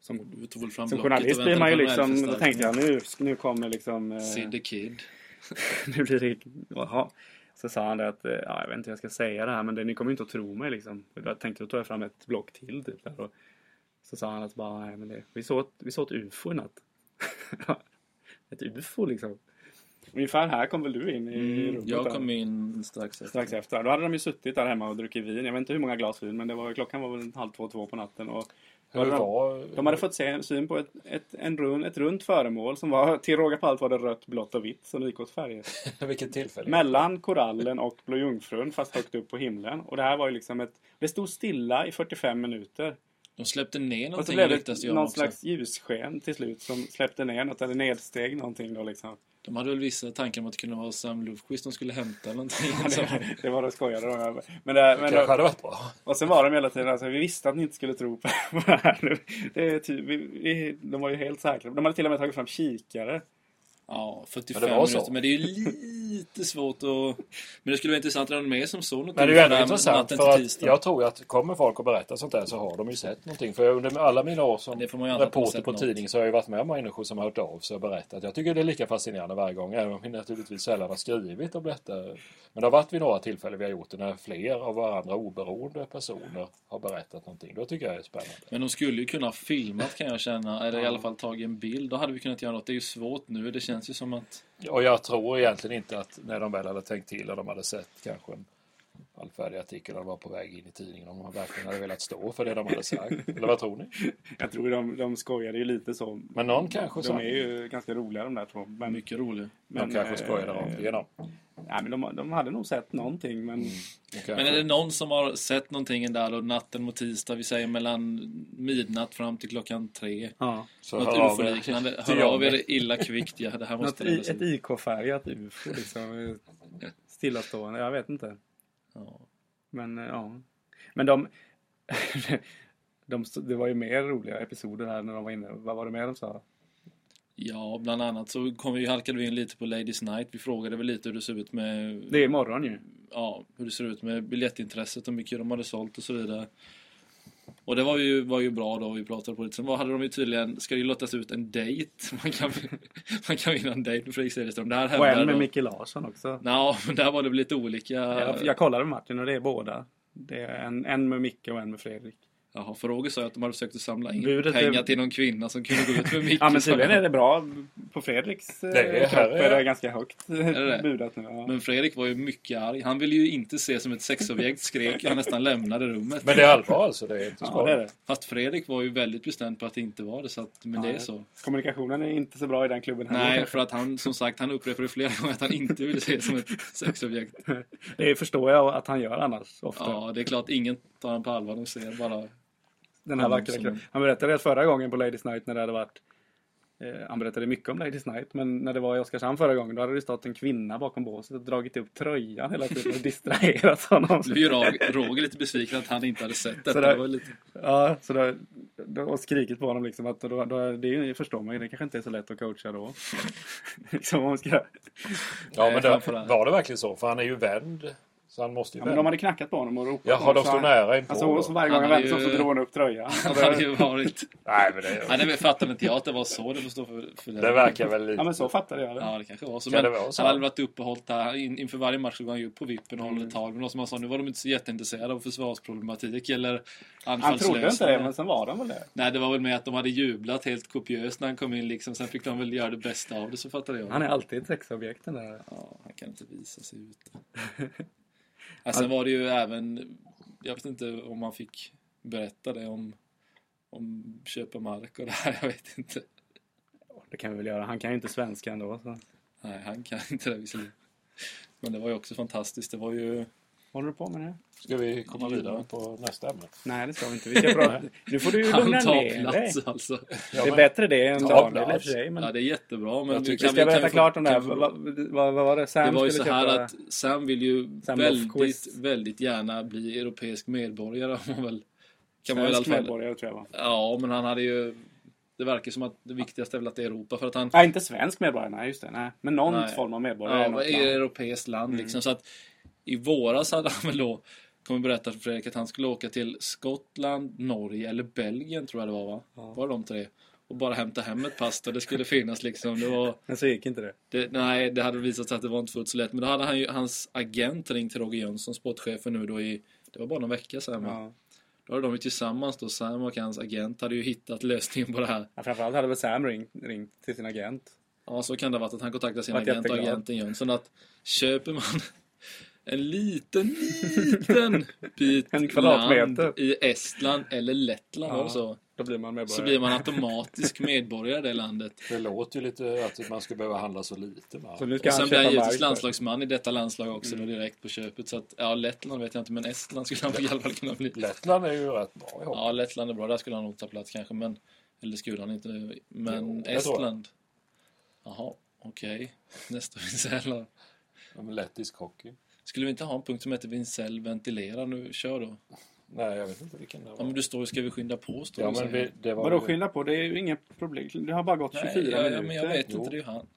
Speaker 2: Som,
Speaker 3: Du tog väl fram
Speaker 2: som
Speaker 3: blocket
Speaker 2: journalist
Speaker 3: och
Speaker 2: blir man ju
Speaker 3: väntade på en
Speaker 2: liksom, då tänkte jag
Speaker 3: förstärkning.
Speaker 2: nu, nu kommer liksom... eh,
Speaker 3: Sid the Kid.
Speaker 2: nu blir det... Jaha. Så sa han det att, eh, ja, jag vet inte hur jag ska säga det här men det, ni kommer ju inte att tro mig liksom. Och Jag tänkte då tar jag fram ett block till typ där och så sa han att bara, nej men det, vi såg ett, vi såg ett ufo i natt. ett ufo liksom. Ungefär här kom väl du in i rummet?
Speaker 4: Mm.
Speaker 2: där.
Speaker 3: Mm, Jag kom in strax efter.
Speaker 2: Strax efter. Då hade de ju suttit där hemma och druckit vin. Jag vet inte hur många glas vin men det var, klockan var väl halv två, två på natten. Och
Speaker 4: Hur
Speaker 2: de-
Speaker 4: var...
Speaker 2: de hade fått se, syn på ett, ett, en rund, ett runt föremål som var, till råga på allt var det rött, blått och vitt som gick åt färger.
Speaker 4: Vilket tillfälle.
Speaker 2: Mellan korallen och Blå Jungfrun fast högt upp på himlen. Och det här var ju liksom ett... Det stod stilla i 45 minuter.
Speaker 3: De släppte ner
Speaker 2: Och så
Speaker 3: någonting i
Speaker 2: blev det
Speaker 3: lyktastymen
Speaker 2: någon
Speaker 3: också.
Speaker 2: slags ljussken till slut som släppte ner något eller nedsteg någonting då liksom.
Speaker 3: De hade väl vissa tankar om att det kunde vara Sam Lofquist de skulle hämta eller någonting. Så-
Speaker 2: Det, det var de skojade de. Men, det, men
Speaker 4: kanske hade varit bra.
Speaker 2: Och sen var de hela tiden, alltså, vi visste att ni inte skulle tro på på det här. Det är ty- vi, vi, de var ju helt säkra. De hade till och med tagit fram kikare.
Speaker 3: Ja, 45
Speaker 4: Men det var så.
Speaker 3: minuter. Men det är ju lite svårt att... Men det skulle vara intressant om de är som så något
Speaker 4: Men det är
Speaker 3: under
Speaker 4: ju ändå
Speaker 3: den
Speaker 4: intressant
Speaker 3: natten
Speaker 4: för
Speaker 3: till
Speaker 4: att
Speaker 3: tisdag.
Speaker 4: jag tror att kommer folk och berätta sånt där så har de ju sett någonting. För under alla mina år som
Speaker 3: Det får man ju aldrig ha
Speaker 4: reporter
Speaker 3: sett
Speaker 4: på
Speaker 3: något.
Speaker 4: tidning så har jag ju varit med om människor som har hört av sig och berättat. Jag tycker det är lika fascinerande varje gång, även om vi naturligtvis sällan har skrivit om detta. Men det har varit vid några tillfällen vi har gjort det när fler av varandra oberoende personer har berättat någonting. Då tycker jag det är spännande.
Speaker 3: Men de skulle ju kunna ha filmat kan jag känna. Eller i alla fall tagit en bild. Då hade vi kunnat göra något. Det är ju svårt nu. Det känns ju som att...
Speaker 4: Och jag tror egentligen inte att när de väl hade tänkt till och de hade sett kanske en allfärdig artikel när de var på väg in i tidningen om de verkligen hade velat stå för det de hade sagt. Eller vad tror ni?
Speaker 2: Jag tror de, de skojade ju lite så.
Speaker 4: Men någon kanske
Speaker 2: De är ju ganska roliga de där två. Men,
Speaker 3: Mycket roligare.
Speaker 2: men,
Speaker 4: de kanske skojade
Speaker 2: eh,
Speaker 4: rakt igenom.
Speaker 2: Nej, men de, de hade nog sett någonting. Men
Speaker 3: Men är det någon som har sett någonting där då natten mot tisdag? Vi säger mellan midnatt fram till klockan tre.
Speaker 2: ja.
Speaker 4: så
Speaker 3: Något
Speaker 4: hör av er.
Speaker 3: UFO-liknande.
Speaker 4: till
Speaker 3: Hör av
Speaker 4: Johnny.
Speaker 3: er illa kvickt. Ja, det här
Speaker 2: Något
Speaker 3: måste
Speaker 2: i,
Speaker 3: redas
Speaker 2: ett
Speaker 3: ut.
Speaker 2: IK-färgat UFO liksom. eh, Stillastående, jag vet inte.
Speaker 3: Ja.
Speaker 2: Men eh, ja. Men de, de... stod- Det var ju mer roliga episoder här när de var inne. Vad var det mer de sa?
Speaker 3: ja, bland annat så kom vi, halkade vi in lite på Ladies Night. Vi frågade väl lite hur det ser ut med...
Speaker 2: Det är imorgon ju.
Speaker 3: ja, hur det ser ut med biljettintresset och mycket de hade sålt och så vidare. Och det var ju, var ju bra då, vi pratade på det. Sen var- hade de ju tydligen, ska det ju lottas ut en dejt? Man kan, man kan vinna en dejt med Fredrik Cederström. Det här
Speaker 2: Och en
Speaker 3: hände
Speaker 2: med
Speaker 3: då.
Speaker 2: Micke Larsson också.
Speaker 3: Nå, men där var det väl lite olika.
Speaker 2: Jag, jag kollade med Martin och det är båda. Det är en, en med Micke och en med Fredrik.
Speaker 3: Jaha, för Roger sa ju att de hade försökt att samla in
Speaker 2: Budet är-
Speaker 3: pengar till någon kvinna som kunde gå ut med Micke.
Speaker 2: Ja men tydligen är det bra. På Fredriks eh,
Speaker 4: Det är-
Speaker 2: kropp är
Speaker 4: här
Speaker 2: det
Speaker 4: är-
Speaker 2: ganska högt
Speaker 3: det?
Speaker 2: budat nu. Ja.
Speaker 3: Men Fredrik var ju mycket arg. Han ville ju inte se som ett sexobjekt, skrek han nästan lämnade rummet.
Speaker 4: Men det är allvar alltså, det är inte
Speaker 2: Ja,
Speaker 4: skoj.
Speaker 2: det är det.
Speaker 3: Fast Fredrik var ju väldigt bestämd på att det inte var det, så att, men det är så.
Speaker 2: Kommunikationen är inte så bra i den klubben heller.
Speaker 3: Nej, för att han som sagt han upprepade flera gånger att han inte ville se det som ett sexobjekt.
Speaker 2: Det förstår jag att han gör annars ofta.
Speaker 3: Ja, det är klart ingen tar han på allvar. De ser bara...
Speaker 2: den här
Speaker 3: han
Speaker 2: vackra
Speaker 3: som-
Speaker 2: kroppen. Han berättade det förra gången på Ladies Night när det hade varit eh, han berättade mycket om Ladies Night men när det var i Oskarshamn förra gången då hade det stått en kvinna bakom båset och dragit upp tröjan hela tiden och distraherat honom.
Speaker 3: Nu är ju Rog- Roger lite besviken att han inte hade sett detta.
Speaker 2: Så där-
Speaker 3: Det var lite...
Speaker 2: Ja, så då, då, och skrikit på honom liksom att då, då, det är ju- förstår man ju, det kanske inte är så lätt att coacha då. liksom om man ska...
Speaker 4: Ja, men det,
Speaker 3: framförallt.
Speaker 4: var det verkligen så? För han är ju vänd. Så han måste ju
Speaker 2: Ja, men de
Speaker 4: vända.
Speaker 2: hade knackat på honom och ropat på
Speaker 4: Jaha,
Speaker 2: honom,
Speaker 4: de
Speaker 2: så
Speaker 4: stod
Speaker 2: han-
Speaker 4: nära inpå.
Speaker 2: Alltså och så varje gång
Speaker 3: Han
Speaker 2: han
Speaker 3: hade
Speaker 2: vände sig om så
Speaker 3: ju-
Speaker 2: drog han upp tröjan.
Speaker 3: Han
Speaker 2: Och
Speaker 3: hade
Speaker 2: då,
Speaker 3: ju varit...
Speaker 4: Nej, men
Speaker 3: Ja,
Speaker 4: det,
Speaker 3: det fattade inte jag att det var så. Det får stå för, för
Speaker 4: det verkar väl
Speaker 2: ja men
Speaker 4: lite...
Speaker 2: så fattade jag det.
Speaker 3: Ja, det kanske var så.
Speaker 4: Kan
Speaker 3: Men
Speaker 4: det vara så?
Speaker 3: han hade varit uppe och hållit där. In, inför varje match så går han ju upp på vippen och håller
Speaker 2: Mm.
Speaker 3: ett tal. Men då, som han sa, nu var de inte så jätteintresserade av försvarsproblematik eller
Speaker 2: Han trodde inte det
Speaker 3: anfallslösningar.
Speaker 2: men sen var de väl det.
Speaker 3: Nej, det var väl med att de hade jublat helt kopiöst när han kom in liksom. Sen fick de väl göra det bästa av det, så fattade jag.
Speaker 2: Han är alltid ett sexobjekt den där.
Speaker 3: Ja, han kan inte visa sig ute. Ja, sen var det ju även, jag vet inte om man fick berätta det om, om köpa mark och det här, jag vet inte.
Speaker 2: Det kan vi väl göra, han kan ju inte svenska ändå. Så.
Speaker 3: Nej, han kan inte det visserligen. Men det var ju också fantastiskt. Det var ju...
Speaker 2: Håller du på med det?
Speaker 4: Ska vi komma vidare på nästa ämne?
Speaker 2: Nej det ska vi inte. Vi ska prata. Nu får du ju lugna
Speaker 3: Han
Speaker 2: ner
Speaker 3: tar
Speaker 2: dig.
Speaker 3: plats alltså.
Speaker 4: Ja,
Speaker 2: Det är
Speaker 4: men-
Speaker 2: bättre det än
Speaker 4: Ta
Speaker 2: Daniel i och
Speaker 4: plats.
Speaker 2: för sig. Men
Speaker 3: Ja, det är jättebra.
Speaker 4: Jag
Speaker 3: Men
Speaker 4: tycker-
Speaker 3: vi
Speaker 2: vi ska
Speaker 3: kan, vi kan
Speaker 2: berätta
Speaker 3: få-
Speaker 2: klart om det här.
Speaker 3: kan få-
Speaker 2: Vad vad- vad var det? Sam
Speaker 3: Det var ju så
Speaker 2: skulle
Speaker 3: här
Speaker 2: köpa-
Speaker 3: att Sam vill ju
Speaker 2: Sam Lofquist.
Speaker 3: väldigt, väldigt gärna bli europeisk medborgare. om man väl, kan man väl i alla
Speaker 2: Svensk
Speaker 3: fall
Speaker 2: medborgare tror jag va?
Speaker 3: Ja, men han hade ju... Det verkar som att det viktigaste är väl att det är Europa för att han...
Speaker 2: Nej, inte svensk medborgare. Nej, just det. Nej. Men någon
Speaker 3: Nej.
Speaker 2: form av medborgare. i
Speaker 3: Ja,
Speaker 2: något
Speaker 3: är ett
Speaker 2: land. Mm.
Speaker 3: europeiskt land liksom. Så att i våras hade han väl då kommer berätta för Fredrik att han skulle åka till Skottland, Norge eller Belgien tror jag det var va? Var det de tre? Och bara hämta hem ett pass där det skulle finnas liksom. Det var...
Speaker 2: Men så gick inte det.
Speaker 3: Det, nej, det hade visat sig att det var inte fullt så lätt. Men då hade han ju, hans agent ringt till Roger Jönsson, sportchefen nu då i... Det var bara någon vecka sedan va?
Speaker 2: Ja.
Speaker 3: Då hade de ju tillsammans då, Sam och hans agent, hade ju hittat lösningen på det här.
Speaker 2: Ja, framförallt hade väl Sam ringt, ringt till sin agent.
Speaker 3: Ja, så kan det ha varit att han kontaktade sin
Speaker 2: Vart
Speaker 3: agent och
Speaker 2: jätteglad.
Speaker 3: agenten Jönsson att köper man en liten, liten bit
Speaker 2: En kvadratmeter.
Speaker 3: land i Estland eller Lettland var det så,
Speaker 2: Då blir man medborgare.
Speaker 3: så blir man automatisk medborgare i det landet.
Speaker 4: Det låter ju lite att man skulle behöva handla så lite. va?
Speaker 2: Så nu ska
Speaker 3: Och
Speaker 2: han
Speaker 3: sen blir
Speaker 2: köpa
Speaker 3: han
Speaker 2: mark.
Speaker 3: givetvis
Speaker 2: för-
Speaker 3: landslagsman i detta landslag också
Speaker 4: Mm.
Speaker 3: då direkt på köpet. Så att, ja, Lettland vet jag inte, men Estland skulle han i alla fall kunna bli.
Speaker 4: Lettland är ju rätt bra i hockey.
Speaker 3: Ja, Lettland är bra. Där skulle han nog ta plats kanske, men... Eller skulle han inte. Men
Speaker 4: Jo, jag tror det.
Speaker 3: Estland. Jaha. Okej, nästa Vincell då.
Speaker 4: Ja, men lettisk hockey.
Speaker 3: Skulle vi inte ha en punkt som heter Vincell ventilera nu? Kör då.
Speaker 4: Nej, jag vet inte vilken det var.
Speaker 3: Ja, men du står ju ska vi skynda på? Står
Speaker 4: Ja,
Speaker 3: du och
Speaker 4: men
Speaker 3: säger.
Speaker 4: vi, det var
Speaker 2: Vadå
Speaker 4: ju-
Speaker 2: skynda på? Det är ju inget problem. Det har bara gått 24
Speaker 3: Nej, ja,
Speaker 2: minuter.
Speaker 3: ja, men jag vet
Speaker 4: Jo.
Speaker 3: inte, det är ju han.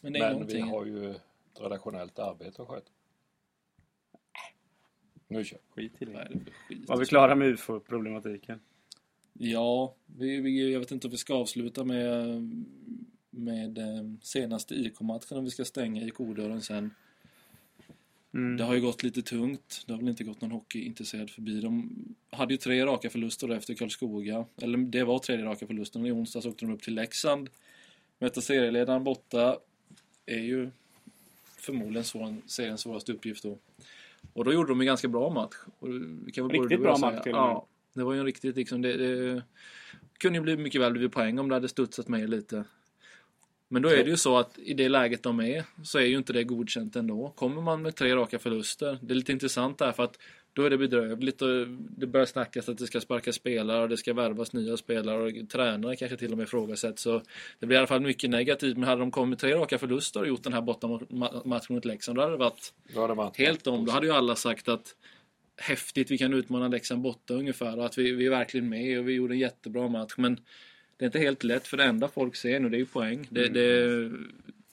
Speaker 3: Men det är
Speaker 4: Men vi
Speaker 3: någonting.
Speaker 4: har ju ett redaktionellt arbete att sköta. Nu kör
Speaker 2: Skit i
Speaker 3: Vad är
Speaker 2: det.
Speaker 3: det för skit?
Speaker 2: Var vi klara med UFO-problematiken?
Speaker 3: Ja, vi, vi, jag vet inte om vi ska avsluta med, med eh, senaste IK-matchen om vi ska stänga IK-dörren sen.
Speaker 2: Mm.
Speaker 3: Det har ju gått lite tungt. Det har väl inte gått någon hockeyintresserad förbi. De hade ju tre raka förluster då efter Karlskoga. Eller det var tredje raka förlusten. I onsdags åkte de upp till Leksand. Mötte serieledaren borta. Är ju förmodligen svår, seriens svåraste uppgift då. Och då gjorde de en ganska bra match. Och det kan väl
Speaker 2: Riktigt
Speaker 3: både du och jag
Speaker 2: bra
Speaker 3: säga.
Speaker 2: match till och med.
Speaker 3: Ja, det var ju en riktigt liksom... Det, det kunde ju bli mycket väl blivit poäng om det hade studsat med lite. Men då är det ju så att i det läget de är så är ju inte det godkänt ändå. Kommer man med tre raka förluster, det är lite intressant där för att då är det bedrövligt och det börjar snackas att det ska sparkas spelare och det ska värvas nya spelare och tränare kanske till och med ifrågasätts. Så det blir i alla fall mycket negativt. Men hade de kommit med tre raka förluster och gjort den här bortamatchen mot Leksand då hade det varit
Speaker 4: Då har de varit-
Speaker 3: helt om. Då hade ju alla sagt att häftigt, vi kan utmana Leksand borta ungefär och att vi, vi är verkligen med och vi gjorde en jättebra match. Men det är inte helt lätt för det enda folk ser nu det är ju poäng. Det,
Speaker 2: Mm.
Speaker 3: det är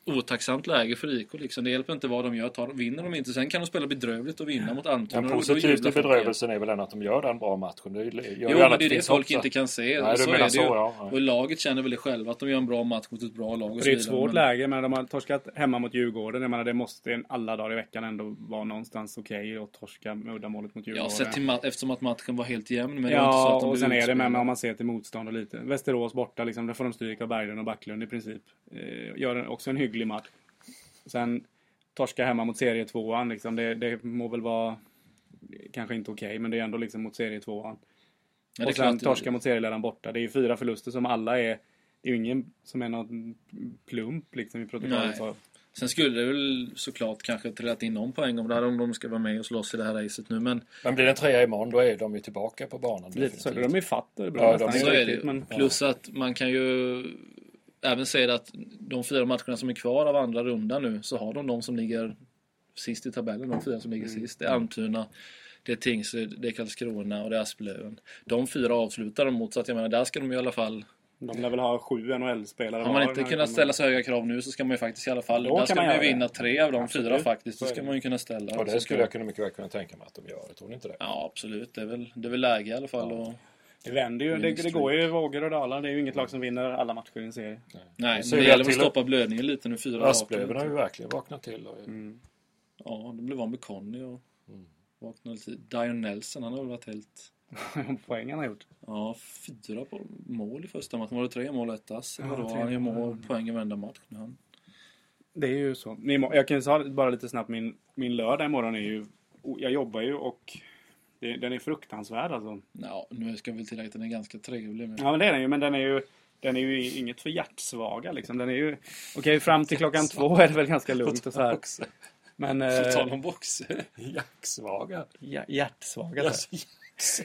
Speaker 3: otacksamt läge för IK liksom. Det hjälper inte vad de gör. Tar, vinner de inte, sen kan de spela bedrövligt och vinna mot Almtuna.
Speaker 4: Men
Speaker 3: och då
Speaker 4: positivt
Speaker 3: jublar
Speaker 4: i
Speaker 3: folk igen.
Speaker 4: bedrövelsen är väl ändå att de gör den bra matchen. Det gör ju
Speaker 3: Jo,
Speaker 4: alla
Speaker 3: men det är det
Speaker 4: finns
Speaker 3: folk
Speaker 4: också.
Speaker 3: inte kan se.
Speaker 4: Nej, du
Speaker 3: så
Speaker 4: menar
Speaker 3: är det
Speaker 4: så,
Speaker 3: ju.
Speaker 4: ja, ja.
Speaker 3: Och laget känner väl själva att de gör en bra match mot ett bra lag. Och
Speaker 2: Det är ett
Speaker 3: så vidare,
Speaker 2: svårt
Speaker 3: men-
Speaker 2: läge, men de har torskat hemma mot Djurgården. Jag menar, det måste en- alla dagar i veckan ändå vara någonstans okej och torska med uddamålet mot Djurgården.
Speaker 3: Ja, sett till ma- eftersom att matchen var helt jämn. Men det var inte så
Speaker 2: Ja,
Speaker 3: att de
Speaker 2: och
Speaker 3: blev
Speaker 2: sen är det
Speaker 3: utspelade.
Speaker 2: med, men om man ser till motstånd och lite. Västerås borta, liksom, där får de stryk av Berglund och Backlund i princip. Eh, gör en, också en hygglig match. Sen torska hemma mot serietvåan, liksom, det, det må väl vara kanske inte okej, men det är ändå liksom mot serietvåan.
Speaker 3: Ja, det är
Speaker 2: och sen
Speaker 3: klart.
Speaker 2: torska mot serieledaren borta. Det är ju fyra förluster som alla är... Det är ju ingen som är någon plump liksom i
Speaker 3: Nej.
Speaker 2: protokollet. Så-
Speaker 3: Sen skulle det väl såklart kanske trillat in någon poäng om det här om de ska vara med och slåss i det här racet nu. Men
Speaker 4: Men blir det en trea imorgon, då är de ju tillbaka på banan.
Speaker 2: Lite så.
Speaker 4: definitivt.
Speaker 2: De är fatt och det är bra
Speaker 4: Ja,
Speaker 2: nästan.
Speaker 4: de är-
Speaker 2: Inte
Speaker 3: så är det
Speaker 2: riktigt,
Speaker 3: ju.
Speaker 2: men-
Speaker 3: Plus att man kan ju även säga det att de fyra matcherna som är kvar av andra rundan nu så har de de som ligger sist i tabellen. De fyra som ligger
Speaker 2: Mm.
Speaker 3: sist. Det är Almtuna, det är Tingsryd, det är Karlskrona och det är Asplöven. De fyra avslutar de mot så att jag menar där ska de i alla fall
Speaker 2: De lär väl ha sju NHL-spelare
Speaker 3: Har
Speaker 2: var
Speaker 3: man
Speaker 2: när
Speaker 3: inte
Speaker 2: det
Speaker 3: kunnat
Speaker 2: kommer.
Speaker 3: ställa så höga krav nu så ska man ju faktiskt i alla fall,
Speaker 2: Då
Speaker 3: där
Speaker 2: kan
Speaker 3: ska
Speaker 2: man
Speaker 3: man ju
Speaker 2: göra det.
Speaker 3: vinna tre av de fyra
Speaker 2: Absolut.
Speaker 3: faktiskt. Då
Speaker 2: Så är
Speaker 3: ska
Speaker 2: det.
Speaker 3: man ju kunna ställa.
Speaker 4: Och
Speaker 3: Och så
Speaker 4: det
Speaker 3: ska-
Speaker 4: skulle jag kunna mycket väl kunna tänka mig att de gör. Tror ni inte det?
Speaker 3: Ja, absolut. Det är väl, det är väl läge i alla fall. Och...
Speaker 2: Det vänder ju. Det, det går ju i vågor och dalar. Det är ju inget lag som vinner alla matcher i en serie.
Speaker 3: Nej,
Speaker 4: Så
Speaker 3: men det
Speaker 4: är det
Speaker 3: gäller att
Speaker 4: till-
Speaker 3: stoppa blödningen lite nu. Fyra
Speaker 4: Asplöven har
Speaker 3: raka.
Speaker 4: ju verkligen vaknat till. Och...
Speaker 2: Mm,
Speaker 3: Ja, de blev av med Conny och vaknade lite. Dion Nelson, han har väl varit helt...
Speaker 2: Poängen har gjort.
Speaker 3: Ja, fyra på mål i första matchen. Var det tre mål och ett ass? eller
Speaker 2: Ja,
Speaker 3: vadå?
Speaker 2: tre
Speaker 3: han gör
Speaker 2: mål.
Speaker 3: mål, poäng i varenda match. nu, Han.
Speaker 2: Det är ju så. Ni må- Jag kan ju säga bara lite snabbt. Min, min lördag imorgon är ju... o- Jag jobbar ju och... Det, den är fruktansvärd alltså.
Speaker 3: Ja, nu ska jag väl tillägga att den är ganska trevlig. Men...
Speaker 2: Ja men det är den ju. Men den är ju... Den är ju inget för hjärtsvaga liksom. Den är ju... Okej, fram till klockan två är det väl ganska lugnt och så här. Men... Eh,
Speaker 3: På tal om boxer.
Speaker 4: Jacksvaga.
Speaker 2: hj- hjärtsvaga. så här.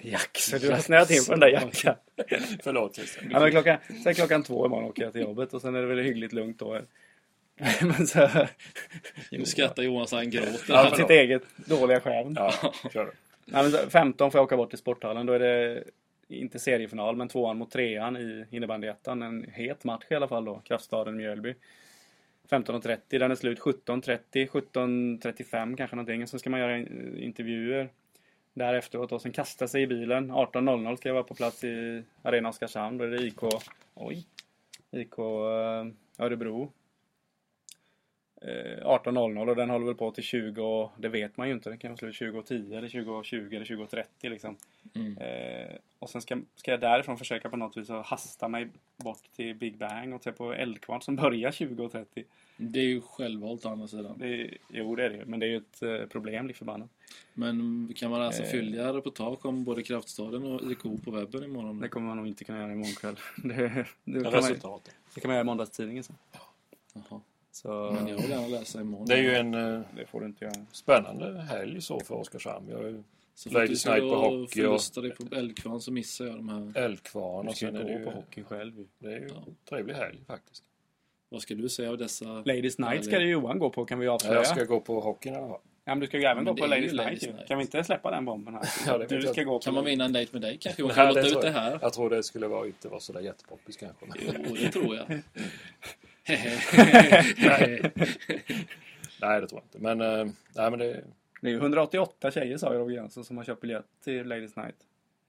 Speaker 4: Jacks.
Speaker 2: Så du har snöat in på den där jackan.
Speaker 4: Förlåt Christian.
Speaker 2: Ja, men klockan, sen klockan två imorgon åker jag till jobbet och sen är det väl hyggligt lugnt då. Men så,
Speaker 3: Nu skrattar Johan så han gråter.
Speaker 4: Ja,
Speaker 2: sitt eget dåliga skämt.
Speaker 4: Ja, kör du.
Speaker 2: Nej, men så, 15 får jag åka bort till sporthallen. Då är det inte seriefinal, men tvåan mot trean i innebandyettan. En het match i alla fall då. Kraftstaden-Mjölby. 15.30, den är slut 17.30, 17.35 kanske någonting. Sen ska man göra eh, intervjuer där efteråt och sen kasta sig i bilen. 18.00 ska jag vara på plats i Arena Oskarshamn. Då är det IK, oj, IK eh, Örebro. Eh, 18.00 och den håller väl på till 20, det vet man ju inte, den kan vara slut 20.10 eller 20.20 eller 20.30 liksom.
Speaker 3: Mm.
Speaker 2: Eh, och sen ska, ska jag därifrån försöka på något vis att hasta mig bort till Big Bang och se på Eldkvarn som börjar 20.30.
Speaker 3: Det är ju självvalt å andra sidan.
Speaker 2: Det är- Jo, det är det ju, men det är ju ett eh, problem lik förbannat.
Speaker 3: Men kan man alltså
Speaker 2: Eh.
Speaker 3: följa reportage om både Kraftstaden och IK på webben imorgon?
Speaker 2: Det kommer man nog inte kunna göra imorgon kväll. Det, det, kan, man,
Speaker 4: Resultatet.
Speaker 2: det kan man göra i måndagstidningen sen.
Speaker 3: Jaha.
Speaker 2: Så
Speaker 3: Men jag vill gärna läsa imorgon.
Speaker 4: Det är ju en eh,
Speaker 2: det får du inte göra.
Speaker 4: spännande helg så för Oskarshamn. Vi har ju
Speaker 3: Så
Speaker 4: Ladies
Speaker 3: du
Speaker 4: Night på hockey och-
Speaker 3: förlusta dig på Eldkvarn så missar jag de här.
Speaker 4: Älvkvarn
Speaker 2: Du
Speaker 4: och
Speaker 2: ska
Speaker 4: sen är det
Speaker 2: ju
Speaker 4: ju...
Speaker 2: gå på hockey själv ju.
Speaker 4: Det är ju
Speaker 3: Ja.
Speaker 4: en trevlig helg faktiskt.
Speaker 3: Vad ska du säga av dessa?
Speaker 2: Ladies Night ska ju Johan gå på kan vi avslöja.
Speaker 4: Jag ska gå på hockeyn i alla fall.
Speaker 2: Ja, men du ska ju även
Speaker 3: Men
Speaker 2: gå på
Speaker 3: det är ju
Speaker 2: Ladies,
Speaker 3: Ladies
Speaker 2: Night, ju.
Speaker 3: Night.
Speaker 2: Kan vi inte släppa den bomben här?
Speaker 4: Ja, det vet
Speaker 2: du
Speaker 4: jag
Speaker 2: ska
Speaker 4: inte.
Speaker 2: gå på...
Speaker 3: Kan man vinna en dejt med dig kanske? Johan
Speaker 4: Nej,
Speaker 3: kan låta ut
Speaker 4: tror
Speaker 3: det
Speaker 4: jag-
Speaker 3: här.
Speaker 4: Jag tror det skulle vara, inte vara sådär jättepoppis kanske. men-
Speaker 3: Jo, det tror jag.
Speaker 4: Nej, det tror jag inte. Men, eh, nej, men det,
Speaker 2: Det är ju 188 tjejer sa ju Roger Jönsson som har köpt biljett till Ladies Night.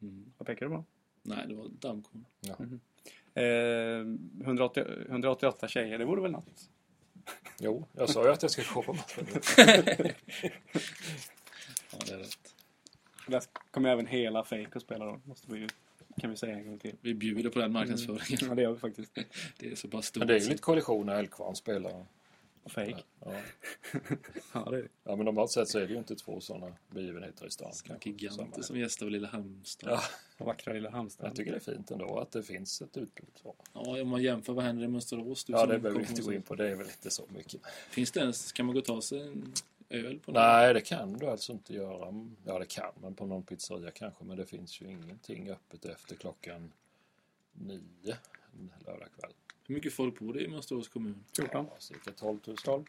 Speaker 3: Mm.
Speaker 2: Vad pekar du på?
Speaker 3: Nej, det var dammkorn.
Speaker 2: Eh, 180, 188 tjejer, det vore väl något?
Speaker 4: jo, jag sa ju att jag ska gå på matchen.
Speaker 3: Ja, det är rätt.
Speaker 2: Där kommer även hela Fake att spela då. Måste vi, ju- kan vi säga en gång till.
Speaker 3: Vi bjuder på den marknadsföringen.
Speaker 2: Ja, det gör vi faktiskt.
Speaker 3: Det är så pass stort.
Speaker 4: Men Mm. det är ju lite kollision när Älgkvarn spelar.
Speaker 2: Fake.
Speaker 4: Ja.
Speaker 2: Ja, det är det.
Speaker 4: ja, men normalt sett så är det ju inte två sådana begivenheter i stan. kanske,
Speaker 3: Giganter
Speaker 4: samma.
Speaker 3: som gästar Lilla Halmstad.
Speaker 4: Ja.
Speaker 2: Vackra lilla
Speaker 4: Jag
Speaker 2: Halmstad.
Speaker 4: tycker det är fint ändå att det finns ett utbud. så.
Speaker 3: Ja, om man jämför vad händer i Mönsterås. du
Speaker 4: Ja,
Speaker 3: som
Speaker 4: det behöver vi
Speaker 3: kommer
Speaker 4: inte gå
Speaker 3: så-
Speaker 4: in på. Det är väl inte så mycket.
Speaker 3: Finns det ens? Kan man gå och ta sig en öl på någon?
Speaker 4: Nej, det kan du alltså inte göra. Ja, det kan man på någon pizzeria kanske, men det finns ju ingenting öppet efter klockan nio en lördag kväll.
Speaker 3: Hur mycket folk bor det i Mönsterås kommun?
Speaker 2: 14.
Speaker 4: Ja, cirka 12 000.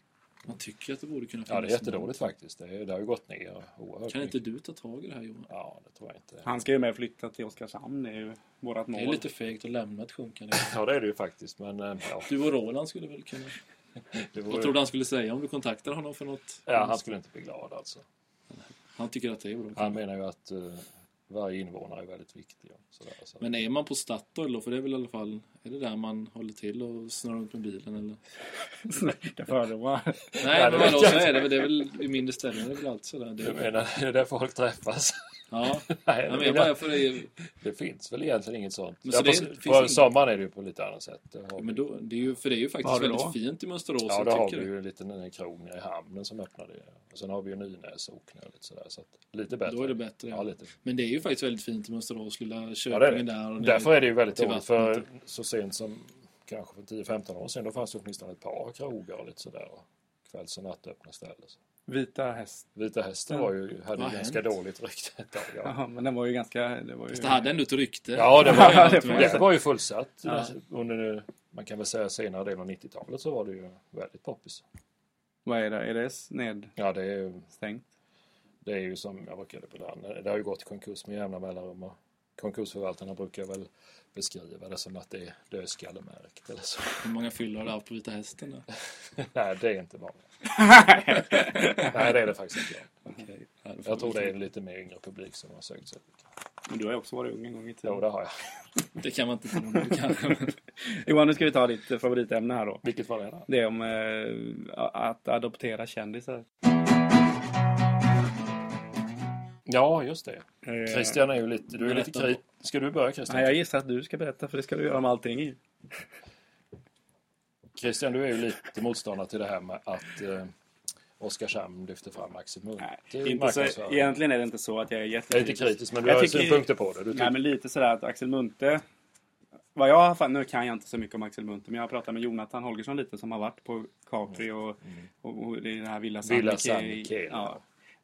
Speaker 3: Man tycker att det borde kunna finnas.
Speaker 4: Ja, det är
Speaker 3: någon.
Speaker 4: jättedåligt faktiskt. Det, är, det har ju gått ner oerhört
Speaker 3: Kan inte
Speaker 4: mycket.
Speaker 3: du ta tag i det här Johan?
Speaker 4: Ja, det tror jag inte.
Speaker 2: Han ska ju med flytta till Oskarshamn. Det är ju vårat mål.
Speaker 3: Det är lite fegt att lämna ett sjunkande.
Speaker 4: Ja, det är det ju faktiskt, men eh, ja.
Speaker 3: Du och Roland skulle väl kunna...
Speaker 4: Det
Speaker 3: Vad
Speaker 4: vore...
Speaker 3: tror du han skulle säga om du kontaktar honom för något?
Speaker 4: Ja, han skulle inte bli glad alltså.
Speaker 3: Han tycker att det är bra.
Speaker 4: Han menar ju att eh, varje invånare är väldigt viktig. Och sådär, så.
Speaker 3: Men är man på Statoil då? För det är väl i alla fall... Är det där man håller till och snurrar runt med bilen eller?
Speaker 2: det fördomar.
Speaker 3: Nej, men
Speaker 4: vet
Speaker 3: vadå?
Speaker 4: jag
Speaker 3: Så är det väl. Det är väl i mindre ställen. Det är väl alltid sådär. Det
Speaker 4: Du
Speaker 3: är,
Speaker 4: menar, det är där folk träffas?
Speaker 3: ja.
Speaker 4: Nej,
Speaker 3: Nej, men
Speaker 4: det,
Speaker 3: jag bara för det.
Speaker 4: det finns väl egentligen inget sånt.
Speaker 3: Men så
Speaker 4: ja,
Speaker 3: det
Speaker 4: på-
Speaker 3: finns
Speaker 4: på
Speaker 3: inget-
Speaker 4: sommaren är det ju på lite annat sätt. Det har
Speaker 3: Men
Speaker 4: vi-
Speaker 3: då, det är ju, för det är ju
Speaker 2: Vad
Speaker 3: faktiskt
Speaker 2: har du
Speaker 3: väldigt fint i Mönsterås.
Speaker 4: Ja,
Speaker 3: jag
Speaker 4: då har vi
Speaker 3: tycker det.
Speaker 4: ju en liten en krog nere i hamnen som öppnade. ju. Och sen har vi ju Nynäs och Oknö och lite sådär. Så att, lite bättre.
Speaker 3: Då är det bättre.
Speaker 4: Ja, lite.
Speaker 3: Men det är ju faktiskt väldigt fint i Mönsterås lilla
Speaker 4: Ja, det är
Speaker 3: köpingen där.
Speaker 4: det.
Speaker 3: Och
Speaker 4: Därför är det ju väldigt
Speaker 3: till
Speaker 4: dåligt.
Speaker 3: vattnet.
Speaker 4: För så sent som kanske för 10-15 år sedan, då fanns det åtminstone ett par krogar och lite sådär. och Kvälls och nattöppna ställen. Så.
Speaker 2: Vita häst.
Speaker 4: Vita hästen var ju, hade
Speaker 3: Vad
Speaker 4: ju
Speaker 3: har
Speaker 4: ganska
Speaker 3: hänt?
Speaker 4: dåligt rykte ett tag. Ja,
Speaker 2: Jaha, men den var ju ganska... Det var ju...
Speaker 3: Fast det hade ändå ett rykte.
Speaker 4: ja det,
Speaker 2: Ja,
Speaker 4: var,
Speaker 2: det
Speaker 4: det,
Speaker 2: får
Speaker 4: var,
Speaker 2: man säga.
Speaker 4: det var ju fullsatt.
Speaker 3: Ja.
Speaker 4: Under, man kan väl säga senare delen av 90-talet så var det ju väldigt poppis.
Speaker 2: Vad är det? Är det s- nedstängt?
Speaker 4: Ja, det är ju Det är ju som jag brukade på den. Det har ju gått i konkurs med jämna mellanrum och konkursförvaltarna brukar väl beskriva det som att det är dödskallemärkt eller så.
Speaker 3: Hur många fyllor har du haft på Vita Hästen? Då?
Speaker 4: Nej, det är inte många. Nej, det är det faktiskt inte.
Speaker 3: Okej. Ja, det får
Speaker 4: Jag tror
Speaker 3: vi-
Speaker 4: det är en lite mer yngre publik som har sökt sig.
Speaker 2: Men du har ju också varit ung en gång i tiden.
Speaker 4: Jo, det har jag.
Speaker 3: Det kan man inte tro nu kanske. men-
Speaker 2: Johan, nu ska vi ta ditt eh, favoritämne här då.
Speaker 4: Vilket var det då?
Speaker 2: Det är om eh, att adoptera kändisar.
Speaker 4: Ja, just det.
Speaker 2: Eh,
Speaker 4: Christian är ju lite... Du är lite
Speaker 3: Berätta.
Speaker 4: krit... Ska du börja Christian?
Speaker 2: Nej, jag gissar att du ska berätta för det ska du göra om allting i.
Speaker 4: Christian, du är ju lite motståndare till det här med att eh, Oskarshamn lyfter fram Axel Munthe i
Speaker 2: inte så,
Speaker 4: marknadsföringen. Jag
Speaker 2: egentligen är det inte så att jag är
Speaker 4: är
Speaker 2: jättekritisk.
Speaker 4: inte kritisk, men du
Speaker 2: Jag
Speaker 4: har ju
Speaker 2: tycker-
Speaker 4: synpunkter på det. Du
Speaker 2: Nej,
Speaker 4: tycker...
Speaker 2: men lite sådär att Axel Munthe... Vad jag har fan, nu kan jag inte så mycket om Axel Munthe, men jag har pratat med Jonathan Holgersson lite som har varit på Capri och, och, och i den här Villa Sandvik.
Speaker 4: Mm. Villa Sandvik,
Speaker 2: ja.
Speaker 4: ja.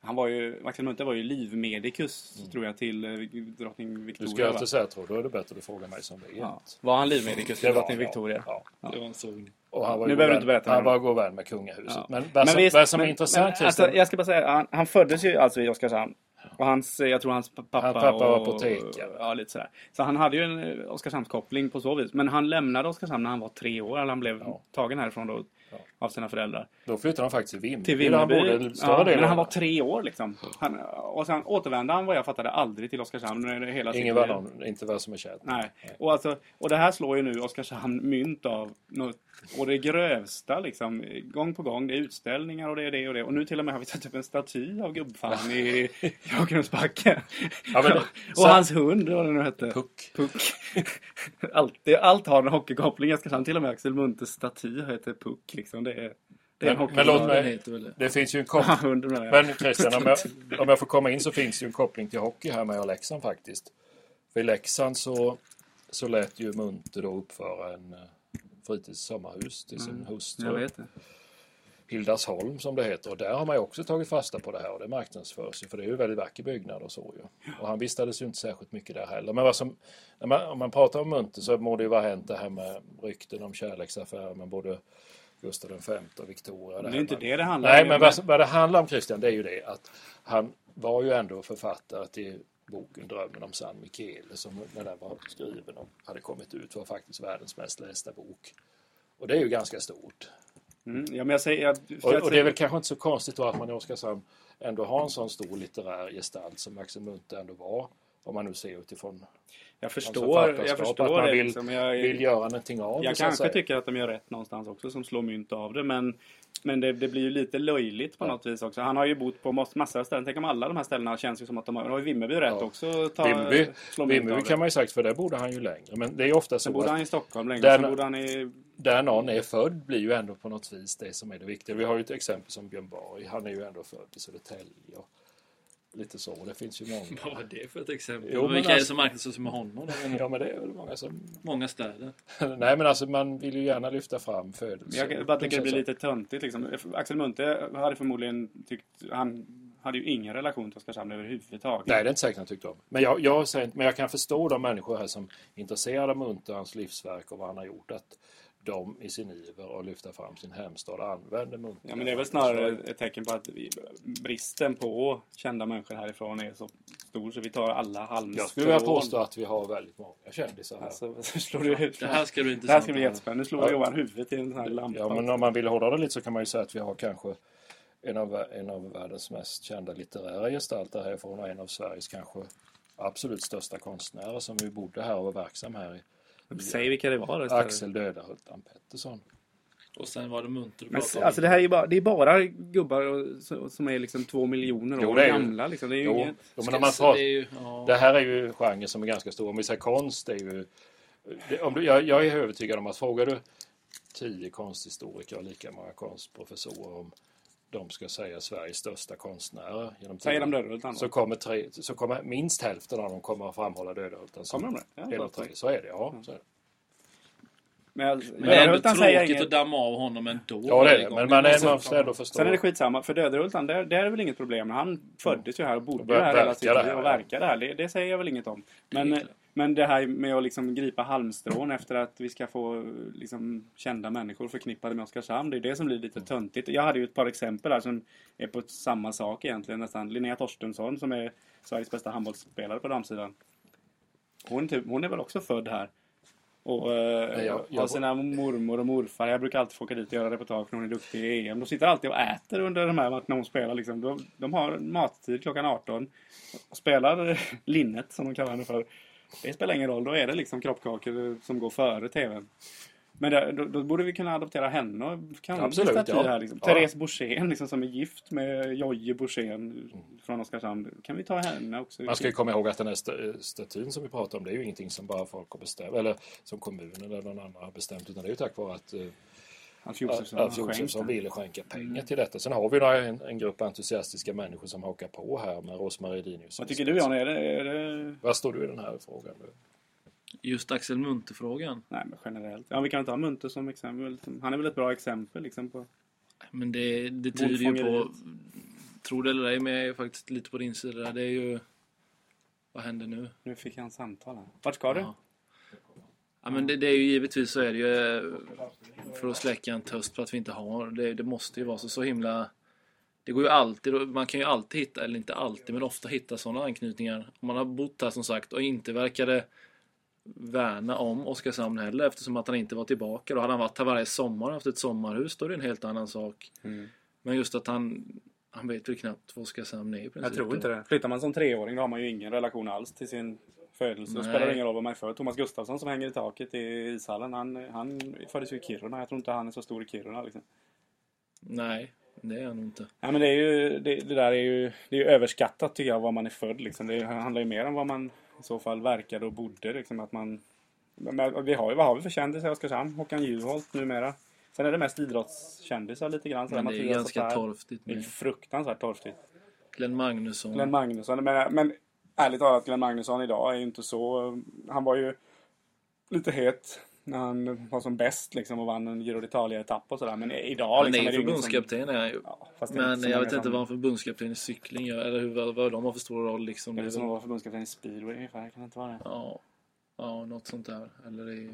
Speaker 2: Han var ju, Axel Munthe var ju livmedikus, tror jag, till eh, drottning
Speaker 4: Mm. Du
Speaker 2: Victoria.
Speaker 4: ska
Speaker 2: va?
Speaker 4: inte säga tror, då är det bättre att fråga mig som vet.
Speaker 2: Ja. Var han livmedikus till
Speaker 4: Det var-
Speaker 2: drottning Victoria?
Speaker 4: Ja.
Speaker 3: Det var en sågning.
Speaker 4: Och han var
Speaker 2: Nu
Speaker 4: ju
Speaker 2: behöver
Speaker 4: god
Speaker 2: du inte
Speaker 4: vän-
Speaker 2: berätta
Speaker 4: Han
Speaker 2: mer.
Speaker 4: var god vän med kungahuset.
Speaker 2: Ja.
Speaker 4: Men vad som,
Speaker 2: visst-
Speaker 4: vad som är
Speaker 2: men-
Speaker 4: intressant
Speaker 2: men, alltså,
Speaker 4: Christian,
Speaker 2: Jag ska bara säga, han, han föddes ju alltså i Oskarshamn. Och hans, eh, jag tror hans pappa,
Speaker 4: Hans pappa var
Speaker 2: och,
Speaker 4: apotekare.
Speaker 2: Ja, lite sådär. Så han hade ju en eh, Oskarshamnskoppling på så vis. Men han lämnade Oskarshamn när han var tre år. Eller han blev
Speaker 4: Ja.
Speaker 2: tagen härifrån då,
Speaker 4: Ja.
Speaker 2: av sina föräldrar.
Speaker 4: Då flyttade han faktiskt till Vimmerby.
Speaker 2: Till
Speaker 4: där
Speaker 2: Vimmerby.
Speaker 4: Han bodde större
Speaker 2: ja,
Speaker 4: delen.
Speaker 2: men han var tre år liksom. Han, och sen återvände han, vad jag fattade, aldrig till Oskarshamn. under Hela sitt
Speaker 4: Ingen
Speaker 2: liv.
Speaker 4: vän om, inte vad som är kärt.
Speaker 2: Nej. Och, alltså, och det här slår ju nu Oskarshamn mynt av. Något, och det grövsta liksom. Gång på gång. Det är utställningar och det är det och det. Och nu till och med har vi satt upp en staty av gubbfan i Jakobsbacken.
Speaker 4: Ja, men-
Speaker 2: och hans hund, vad det nu hette.
Speaker 4: Puck.
Speaker 2: Puck. Allt, det, allt har en hockeykoppling i Oskarshamn. Till och med Axel Munthes staty heter Puck. Liksom. Det är, det är en
Speaker 4: Men-
Speaker 2: hockey.
Speaker 4: men låt
Speaker 3: Ja,
Speaker 4: mig-
Speaker 3: den heter väl det.
Speaker 4: Det finns ju en koppling.
Speaker 2: Ja, hunden menar jag.
Speaker 4: Men Christian, om jag, om jag får komma in så finns det ju en koppling till hockey här med Leksand faktiskt. För i Leksand så, så lät ju
Speaker 2: Mm.
Speaker 4: Munter då uppföra en eh, fritids sommarhus till sin hustru.
Speaker 2: Jag vet det.
Speaker 4: Hildasholm som det heter. Och där har man ju också tagit fasta på det här och det marknadsförs ju för det är ju en väldigt vacker byggnad och så ju. Och han vistades ju inte särskilt mycket där heller. Men vad som, när man, om man pratar om Munter så må det ju vara hänt det här med rykten om kärleksaffärer med både Gustav V och Victoria.
Speaker 2: Det är
Speaker 4: här
Speaker 2: inte
Speaker 4: med-
Speaker 2: det det handlar
Speaker 4: Nej,
Speaker 2: om.
Speaker 4: men vad, vad det handlar om Christian, det är ju det att han var ju ändå författare till boken Drömmen om San Michele som när den var skriven och hade kommit ut var faktiskt världens mest lästa bok. Och det är ju ganska stort.
Speaker 2: Mm, ja, men jag säger... Jag,
Speaker 4: Och,
Speaker 2: jag
Speaker 4: och det är
Speaker 2: säger-
Speaker 4: väl kanske inte så konstigt då att man i Oskarshamn ändå har en sån stor litterär gestalt som Axel Munthe ändå var. Om man nu ser utifrån
Speaker 2: Jag
Speaker 4: hans
Speaker 2: förstår, jag
Speaker 4: författarskap,
Speaker 2: förstår
Speaker 4: att man
Speaker 2: det.
Speaker 4: vill,
Speaker 2: liksom. jag,
Speaker 4: vill göra någonting av det.
Speaker 2: jag
Speaker 4: så att
Speaker 2: kanske
Speaker 4: säga.
Speaker 2: tycker att de gör rätt någonstans också som slår mynt av det. Men, men det, det blir ju lite löjligt på
Speaker 4: Ja.
Speaker 2: något vis också. Han har ju bott på mass- massor av ställen. Tänk om alla de här ställena känns ju som att de har... Nu har ju Vimmerby rätt
Speaker 4: Ja.
Speaker 2: också. Ta,
Speaker 4: Vimmerby,
Speaker 2: slå mynt
Speaker 4: Vimmerby
Speaker 2: av
Speaker 4: kan
Speaker 2: det.
Speaker 4: man ju sagt, för där bodde han ju längre. Men det är ju ofta så
Speaker 2: Sen bodde
Speaker 4: att
Speaker 2: han i Stockholm länge.
Speaker 4: Där-
Speaker 2: Sen bodde han i...
Speaker 4: där någon är född blir ju ändå på något vis det som är det viktiga. Vi har ju ett exempel som Björn Borg. Han är ju ändå född i Södertälje. Och lite så. Och Det finns ju många.
Speaker 3: Vad var det för ett exempel?
Speaker 4: Jo, men
Speaker 3: Vilka är det
Speaker 4: alltså-
Speaker 3: som marknadsförs med honom? då?
Speaker 4: Ja, men det är väl många som...
Speaker 3: Många städer.
Speaker 4: Nej, men alltså man vill ju gärna lyfta fram födelsen.
Speaker 2: Jag kan- bara tänker att det blir lite töntigt liksom. Axel Munthe hade förmodligen tyckt... Han hade ju ingen relation till Oskarshamn överhuvudtaget.
Speaker 4: Nej, det är inte säkert han tyckte om. Men jag, jag, säger inte- men jag kan förstå de människor här som är intresserade av Munthe och hans livsverk och vad han har gjort. Att de i sin iver att lyfta fram sin hemstad använder Munthe.
Speaker 2: Ja, men det är väl snarare ett tecken på att vi- bristen på kända människor härifrån är så stor så vi tar alla halmstrån.
Speaker 4: Jag skulle vilja påstå att vi har väldigt många kändisar här.
Speaker 2: Alltså, så slår du ut.
Speaker 3: Det här ska
Speaker 2: det
Speaker 3: bli
Speaker 2: här
Speaker 3: intressant.
Speaker 2: ska bli jättespännande. Nu slår
Speaker 4: Ja.
Speaker 2: Johan huvudet i en sån här lampa.
Speaker 4: Ja, men om man vill hårdra det lite så kan man ju säga att vi har kanske en av, vä- en av världens mest kända litterära gestalter härifrån och en av Sveriges kanske absolut största konstnärer som ju bodde här och var verksam här. i-
Speaker 2: Säg vilka det var då istället.
Speaker 4: Axel Dödarhultan Pettersson.
Speaker 3: Och sen var det munter
Speaker 2: Men, s- alltså det här är ju bara, det är bara gubbar och, så- som är liksom två miljoner
Speaker 4: Jo,
Speaker 2: år
Speaker 4: det är ju-
Speaker 2: gamla. Liksom. Det är ju
Speaker 4: Jo,
Speaker 2: inget...
Speaker 4: jo, men om man pratar,
Speaker 3: det, är ju, ja.
Speaker 4: det här är ju en genre som är ganska stor. Om vi säger konst, det är ju... Det, om du, jag, jag är övertygad om att frågar du tio konsthistoriker och lika många konstprofessorer om de ska säga Sveriges största konstnärer genom
Speaker 2: Säger de
Speaker 4: tiderna.
Speaker 2: Döderhultan?
Speaker 4: så
Speaker 2: Så...
Speaker 4: kommer, tre, så kommer minst hälften av dem kommer att framhålla Döderhultan. som
Speaker 2: Kommer de det? Ja,
Speaker 4: en av
Speaker 2: klart.
Speaker 4: tre. Så är det, ja. Så är det.
Speaker 2: Men, jag-
Speaker 3: Men det är ändå
Speaker 2: Döderhultan säger
Speaker 3: tråkigt
Speaker 2: inget.
Speaker 3: att damma av honom ändå.
Speaker 4: Ja, det är
Speaker 3: varje
Speaker 4: det.
Speaker 3: gång.
Speaker 4: Men man, är,
Speaker 3: måste-
Speaker 4: man måste ändå förstå.
Speaker 2: Sen är det skitsamma, för Döderultan, där, där är väl inget problem. Han föddes ju här och
Speaker 4: Och
Speaker 2: bodde ju
Speaker 4: bör-
Speaker 2: här hela sitt
Speaker 4: verkade
Speaker 2: liv och
Speaker 4: här, ja.
Speaker 2: verkade här. Det, det säger jag väl inget om.
Speaker 3: Det är
Speaker 2: Men,
Speaker 3: klart.
Speaker 2: men det här med att liksom gripa halmstrån efter att vi ska få liksom, kända människor förknippade med Oskarshamn, det är det som blir lite töntigt. Jag hade ju ett par exempel här som är på samma sak egentligen nästan. Linnea Torstensson som är Sveriges bästa handbollsspelare på damsidan. Hon, typ, hon är väl också född här. Och eh,
Speaker 4: Nej, jag- jag-
Speaker 2: har sina mormor och morfar. Jag brukar alltid få åka dit och göra reportage när hon är duktig i EM. De sitter alltid och äter under de här matcherna hon spelar. Liksom. De, de har mattid klockan 18. Och spelar linnet som de kallar henne för. Det spelar ingen roll. Då är det liksom kroppkakor som går före TVn. Men det, då, då borde vi kunna adoptera henne och kan hon bli
Speaker 4: Absolut,
Speaker 2: staty
Speaker 4: ja.
Speaker 2: här. Liksom.
Speaker 4: Ja.
Speaker 2: Therese Borssén liksom, som är gift med Jojje Borssén från Oskarshamn. Kan vi ta henne också?
Speaker 4: Mm. Man ska ju komma ihåg att den här stö- statyn som vi pratar om, det är ju ingenting som bara folk har bestämt, eller som kommunen eller någon annan har bestämt, utan det är ju tack vare att eh,
Speaker 2: Alf
Speaker 4: Alf
Speaker 2: Josefsson har
Speaker 4: Alf
Speaker 2: skänkt
Speaker 4: Josefsson
Speaker 2: den.
Speaker 4: ville skänka pengar till detta. Sen har vi några, en, en grupp entusiastiska människor som hakar på här med Rosmarie Dinius.
Speaker 2: Vad tycker du Jan? Är det, är det...
Speaker 4: Var står du i den här frågan? nu?
Speaker 3: Just Axel Munter-frågan.
Speaker 2: Nej, men generellt. Ja, vi kan ta Munthe som exempel. Han är väl ett bra exempel liksom på...
Speaker 3: Men det, det tyder ju på... Tror det eller ej, men jag är faktiskt lite på din sida. där. Det är ju... Vad händer nu?
Speaker 2: Nu fick jag en samtal här. Vart ska du?
Speaker 3: Ja. Ja, men det, det är ju givetvis så är det ju eh, för att släcka en törst för att vi inte har. Det, det måste ju vara så, så himla... Det går ju alltid, man kan ju alltid hitta, eller inte alltid, men ofta hitta sådana anknytningar. Om man har bott här som sagt och inte verkade värna om Oskarshamn heller eftersom att han inte var tillbaka. Då hade han varit här varje sommar och haft ett sommarhus, då är det en helt annan sak.
Speaker 2: Mm.
Speaker 3: Men just att han, han vet väl knappt vad Oskarshamn är i princip.
Speaker 2: Jag tror inte det. Flyttar man som treåring då har man ju ingen relation alls till sin födelse. Då
Speaker 3: Nej.
Speaker 2: spelar det ingen roll vad man är född. Thomas Gustafsson som hänger i taket i ishallen, han, han föddes ju i Kiruna. Jag tror inte han är så stor i Kiruna liksom.
Speaker 3: Nej, det är han nog inte.
Speaker 2: Ja, men det, är ju, det, det där är ju, det är ju överskattat tycker jag, var man är född. Liksom. Det handlar ju mer om vad man i så fall verkade och bodde. Liksom, att man, men vi har ju, vad har vi för kändisar i Oskarshamn? Håkan Juholt numera. Sen är det mest idrottskändisar lite grann. sådär,
Speaker 3: Men det är ju
Speaker 2: Mattias
Speaker 3: ganska
Speaker 2: Zappar.
Speaker 3: torftigt
Speaker 2: Det är
Speaker 3: med
Speaker 2: fruktansvärt torftigt.
Speaker 3: Glenn Magnusson.
Speaker 2: Glenn Magnusson. Men, men ärligt talat, Glenn Magnusson idag är ju inte så... Han var ju lite het när han var som bäst liksom och vann en Giro d'Italia-etapp och sådär. Men i- idag
Speaker 3: Han
Speaker 2: liksom,
Speaker 3: är
Speaker 2: det
Speaker 3: ju
Speaker 2: ingen som-
Speaker 3: förbundskapten är han ju.
Speaker 2: Ja, fast det är
Speaker 3: Men
Speaker 2: så
Speaker 3: jag
Speaker 2: många
Speaker 3: vet inte
Speaker 2: som-
Speaker 3: vad en förbundskapten i cykling gör, eller hur, vad, vad de har för stor roll liksom.
Speaker 2: Det är
Speaker 3: Det är
Speaker 2: väl som
Speaker 3: väl-
Speaker 2: att vara förbundskapten i speedway ungefär, kan det inte vara det?
Speaker 3: Ja, ja, något sånt där. Eller i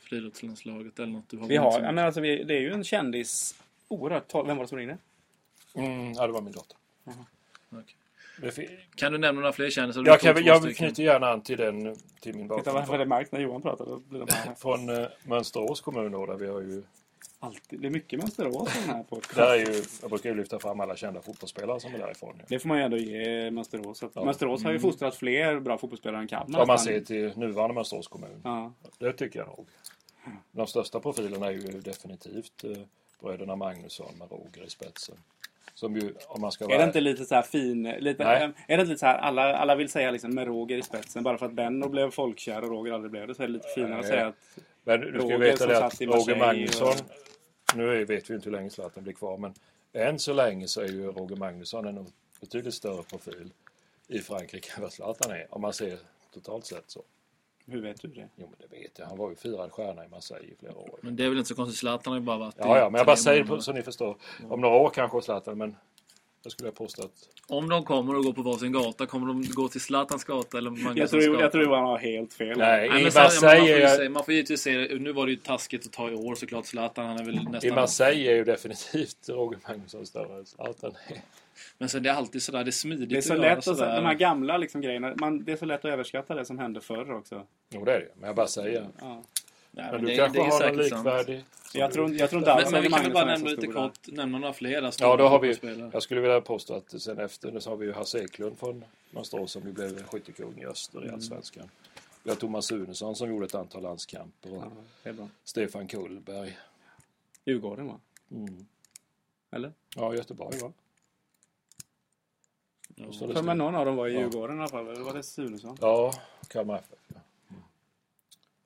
Speaker 3: friidrottslandslaget eller något. Du har liksom-
Speaker 2: Vi har,
Speaker 3: vunnit så
Speaker 2: ja,
Speaker 3: mycket.
Speaker 2: men alltså, vi, det är ju en kändis. Oerhört tal- Vem var det som ringde?
Speaker 4: Mm, ja, det var min dotter.
Speaker 3: Okej.
Speaker 4: Det fi-
Speaker 3: Kan du nämna några fler kändisar? Du
Speaker 4: Jag,
Speaker 3: tog
Speaker 4: kan,
Speaker 3: två
Speaker 4: jag
Speaker 3: stycken.
Speaker 4: knyter gärna an till, den, till min
Speaker 2: Vet du varför
Speaker 4: bakgrund.
Speaker 2: det märkt när Johan pratade? Då blir de här.
Speaker 4: Från eh, Mönsterås kommun då, där vi har ju...
Speaker 2: Alltid. Det är mycket Mönsterås i den här podcasten.
Speaker 4: Där är ju jag brukar ju lyfta fram alla kända fotbollsspelare som är därifrån. Ju.
Speaker 2: Det får man ju ändå ge Mönsterås. Att
Speaker 4: Ja.
Speaker 2: Mönsterås har ju fostrat fler bra fotbollsspelare än Kalmar.
Speaker 4: Om man
Speaker 2: nästan.
Speaker 4: ser till nuvarande Mönsterås kommun.
Speaker 2: Ja.
Speaker 4: Det tycker jag nog. De största profilerna är ju definitivt eh, bröderna Magnusson med Roger i spetsen. Som ju, om man ska
Speaker 2: Är
Speaker 4: vara...
Speaker 2: det inte lite så här fin... Lite,
Speaker 4: Nej.
Speaker 2: äm, är det inte lite så här, alla, alla vill säga liksom med Roger i spetsen. Bara för att Benno blev folkkär och Roger aldrig blev det så är det lite finare att
Speaker 4: Nej.
Speaker 2: säga att...
Speaker 4: Men du ska
Speaker 2: Roger
Speaker 4: ju veta
Speaker 2: som
Speaker 4: det
Speaker 2: satt
Speaker 4: att
Speaker 2: i
Speaker 4: Roger
Speaker 2: Marseille
Speaker 4: Magnusson... Nu är- vet vi ju inte hur länge Zlatan blir kvar, men än så länge så är ju Roger Magnusson en betydligt större profil i Frankrike än vad Zlatan är. Om man ser totalt sett så.
Speaker 2: Hur vet du det?
Speaker 4: Jo, men det vet jag. Han var ju firad stjärna i Marseille i flera år.
Speaker 3: Men det är väl inte så konstigt, Zlatan har ju bara varit i
Speaker 4: Ja, ja, men jag bara
Speaker 3: tre
Speaker 4: säger det
Speaker 3: månader.
Speaker 4: så ni förstår. Om några år kanske Zlatan, men jag skulle jag påstå att...
Speaker 3: Om de kommer och går på varsin gata, kommer de gå till Zlatans gata eller Magnussons
Speaker 2: Jag tror,
Speaker 3: gata?
Speaker 2: jag tror Johan har helt fel.
Speaker 4: Nej,
Speaker 3: Nej,
Speaker 4: i
Speaker 3: men sen, ja, men man, får
Speaker 4: Marseille
Speaker 3: ju
Speaker 4: är
Speaker 3: se, man får givetvis se det. Nu var det ju taskigt att ta i år såklart. Zlatan, han är väl
Speaker 4: I
Speaker 3: nästan...
Speaker 4: Marseille är ju definitivt Roger Magnusson större än Zlatan.
Speaker 3: Men så det är alltid sådär, det är smidigt
Speaker 2: Det är så
Speaker 3: att
Speaker 2: lätt att
Speaker 3: sådär.
Speaker 2: säga, de här gamla liksom grejerna, man, det är så lätt att överskatta det som hände förr också.
Speaker 4: Jo, det är det ju, men jag bara säger.
Speaker 2: Ja.
Speaker 3: Nej,
Speaker 4: Men du
Speaker 3: det-
Speaker 4: kanske
Speaker 3: det är
Speaker 4: har någon
Speaker 3: säkert sant.
Speaker 4: likvärdig? som
Speaker 2: Jag
Speaker 4: du-
Speaker 2: tror, jag tror inte alls
Speaker 3: Men, men vi
Speaker 2: att
Speaker 3: kan väl bara
Speaker 2: Magnusson är så
Speaker 3: nämna lite
Speaker 2: stor där.
Speaker 3: kort, nämna några fler stora
Speaker 4: Ja, då har vi,
Speaker 3: fotbollsspelare.
Speaker 4: jag skulle vilja påstå att sen efter så har vi ju Hasse Eklund från Mönsterås som ju blev skyttekung i öster i
Speaker 3: Mm.
Speaker 4: Allsvenskan. Vi har Thomas Sunesson som gjorde ett antal landskamper och
Speaker 2: Ja, det är bra.
Speaker 4: Stefan Kullberg.
Speaker 2: Djurgården va?
Speaker 4: Mm.
Speaker 2: Eller?
Speaker 4: Ja, Göteborg va?
Speaker 3: Ja.
Speaker 4: Och så är det
Speaker 2: För men någon av dem var i
Speaker 4: Ja.
Speaker 2: Djurgården i alla fall, eller var det Sunesson?
Speaker 4: Ja, Kalmar FF. Ja.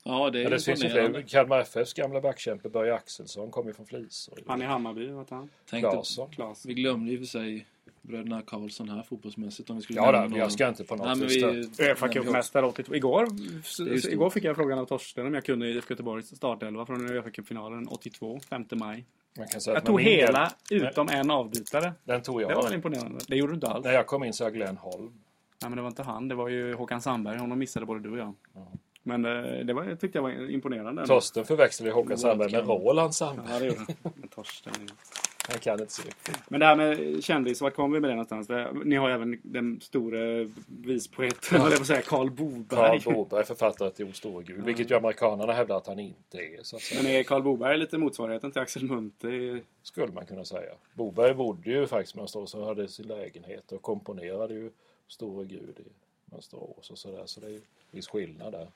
Speaker 3: Ja, det är
Speaker 4: Ja, det finns ju
Speaker 3: imponerande.
Speaker 4: fler. Kalmar FFs gamla backkämpe Börje Axelsson kom ju från Flisor.
Speaker 2: Han i Hammarby, vad hette han?
Speaker 3: Tänk dig-
Speaker 4: Claesson.
Speaker 2: Klas.
Speaker 3: Vi glömde ju för sig bröderna Karlsson här fotbollsmässigt om vi skulle
Speaker 4: Ja,
Speaker 3: nämna
Speaker 4: då, jag ska inte på något
Speaker 3: Mm. Nej, men
Speaker 4: vis... ta-
Speaker 3: vi...
Speaker 2: Uefa Cup-mästare 82. Igår,
Speaker 3: ju stort.
Speaker 2: igår fick jag frågan av Torsten om jag kunde IFK Göteborgs startelva från Uefa Cup-finalen 82, 5 maj.
Speaker 4: Man kan säga
Speaker 2: Jag
Speaker 4: att man
Speaker 2: tog
Speaker 4: min del-
Speaker 2: hela utom en avbytare.
Speaker 4: Den tog jag.
Speaker 2: Det var väl imponerande? Det gjorde du inte alls?
Speaker 4: När jag kom in så jag Glenn Holm.
Speaker 2: Nej, men det var inte han. Det var ju Håkan Sandberg. Honom missade både du och jag. Men eh, det var, jag tyckte jag var imponerande.
Speaker 4: Torsten förväxlade ju Håkan Sandberg med
Speaker 3: Welcome.
Speaker 4: Roland Sandberg.
Speaker 2: Ja, det gjorde han. Men Torsten.
Speaker 4: Han kan inte så mycket.
Speaker 2: Men det här med kändis, vart kom vi med det någonstans? Det, ni har ju även den store vispoeten, höll jag på att säga, Karl Boberg.
Speaker 4: Karl Boberg, författare till Ord Store Gud, vilket ju amerikanerna hävdar att han inte är. Så att säga.
Speaker 2: Men är Karl Boberg lite motsvarigheten till Axel Munthe? i-
Speaker 4: Skulle man kunna säga. Boberg bodde ju faktiskt i Mönsterås och hade sin lägenhet och komponerade ju Store Gud i Mönsterås och sådär. Så det är ju viss skillnad där.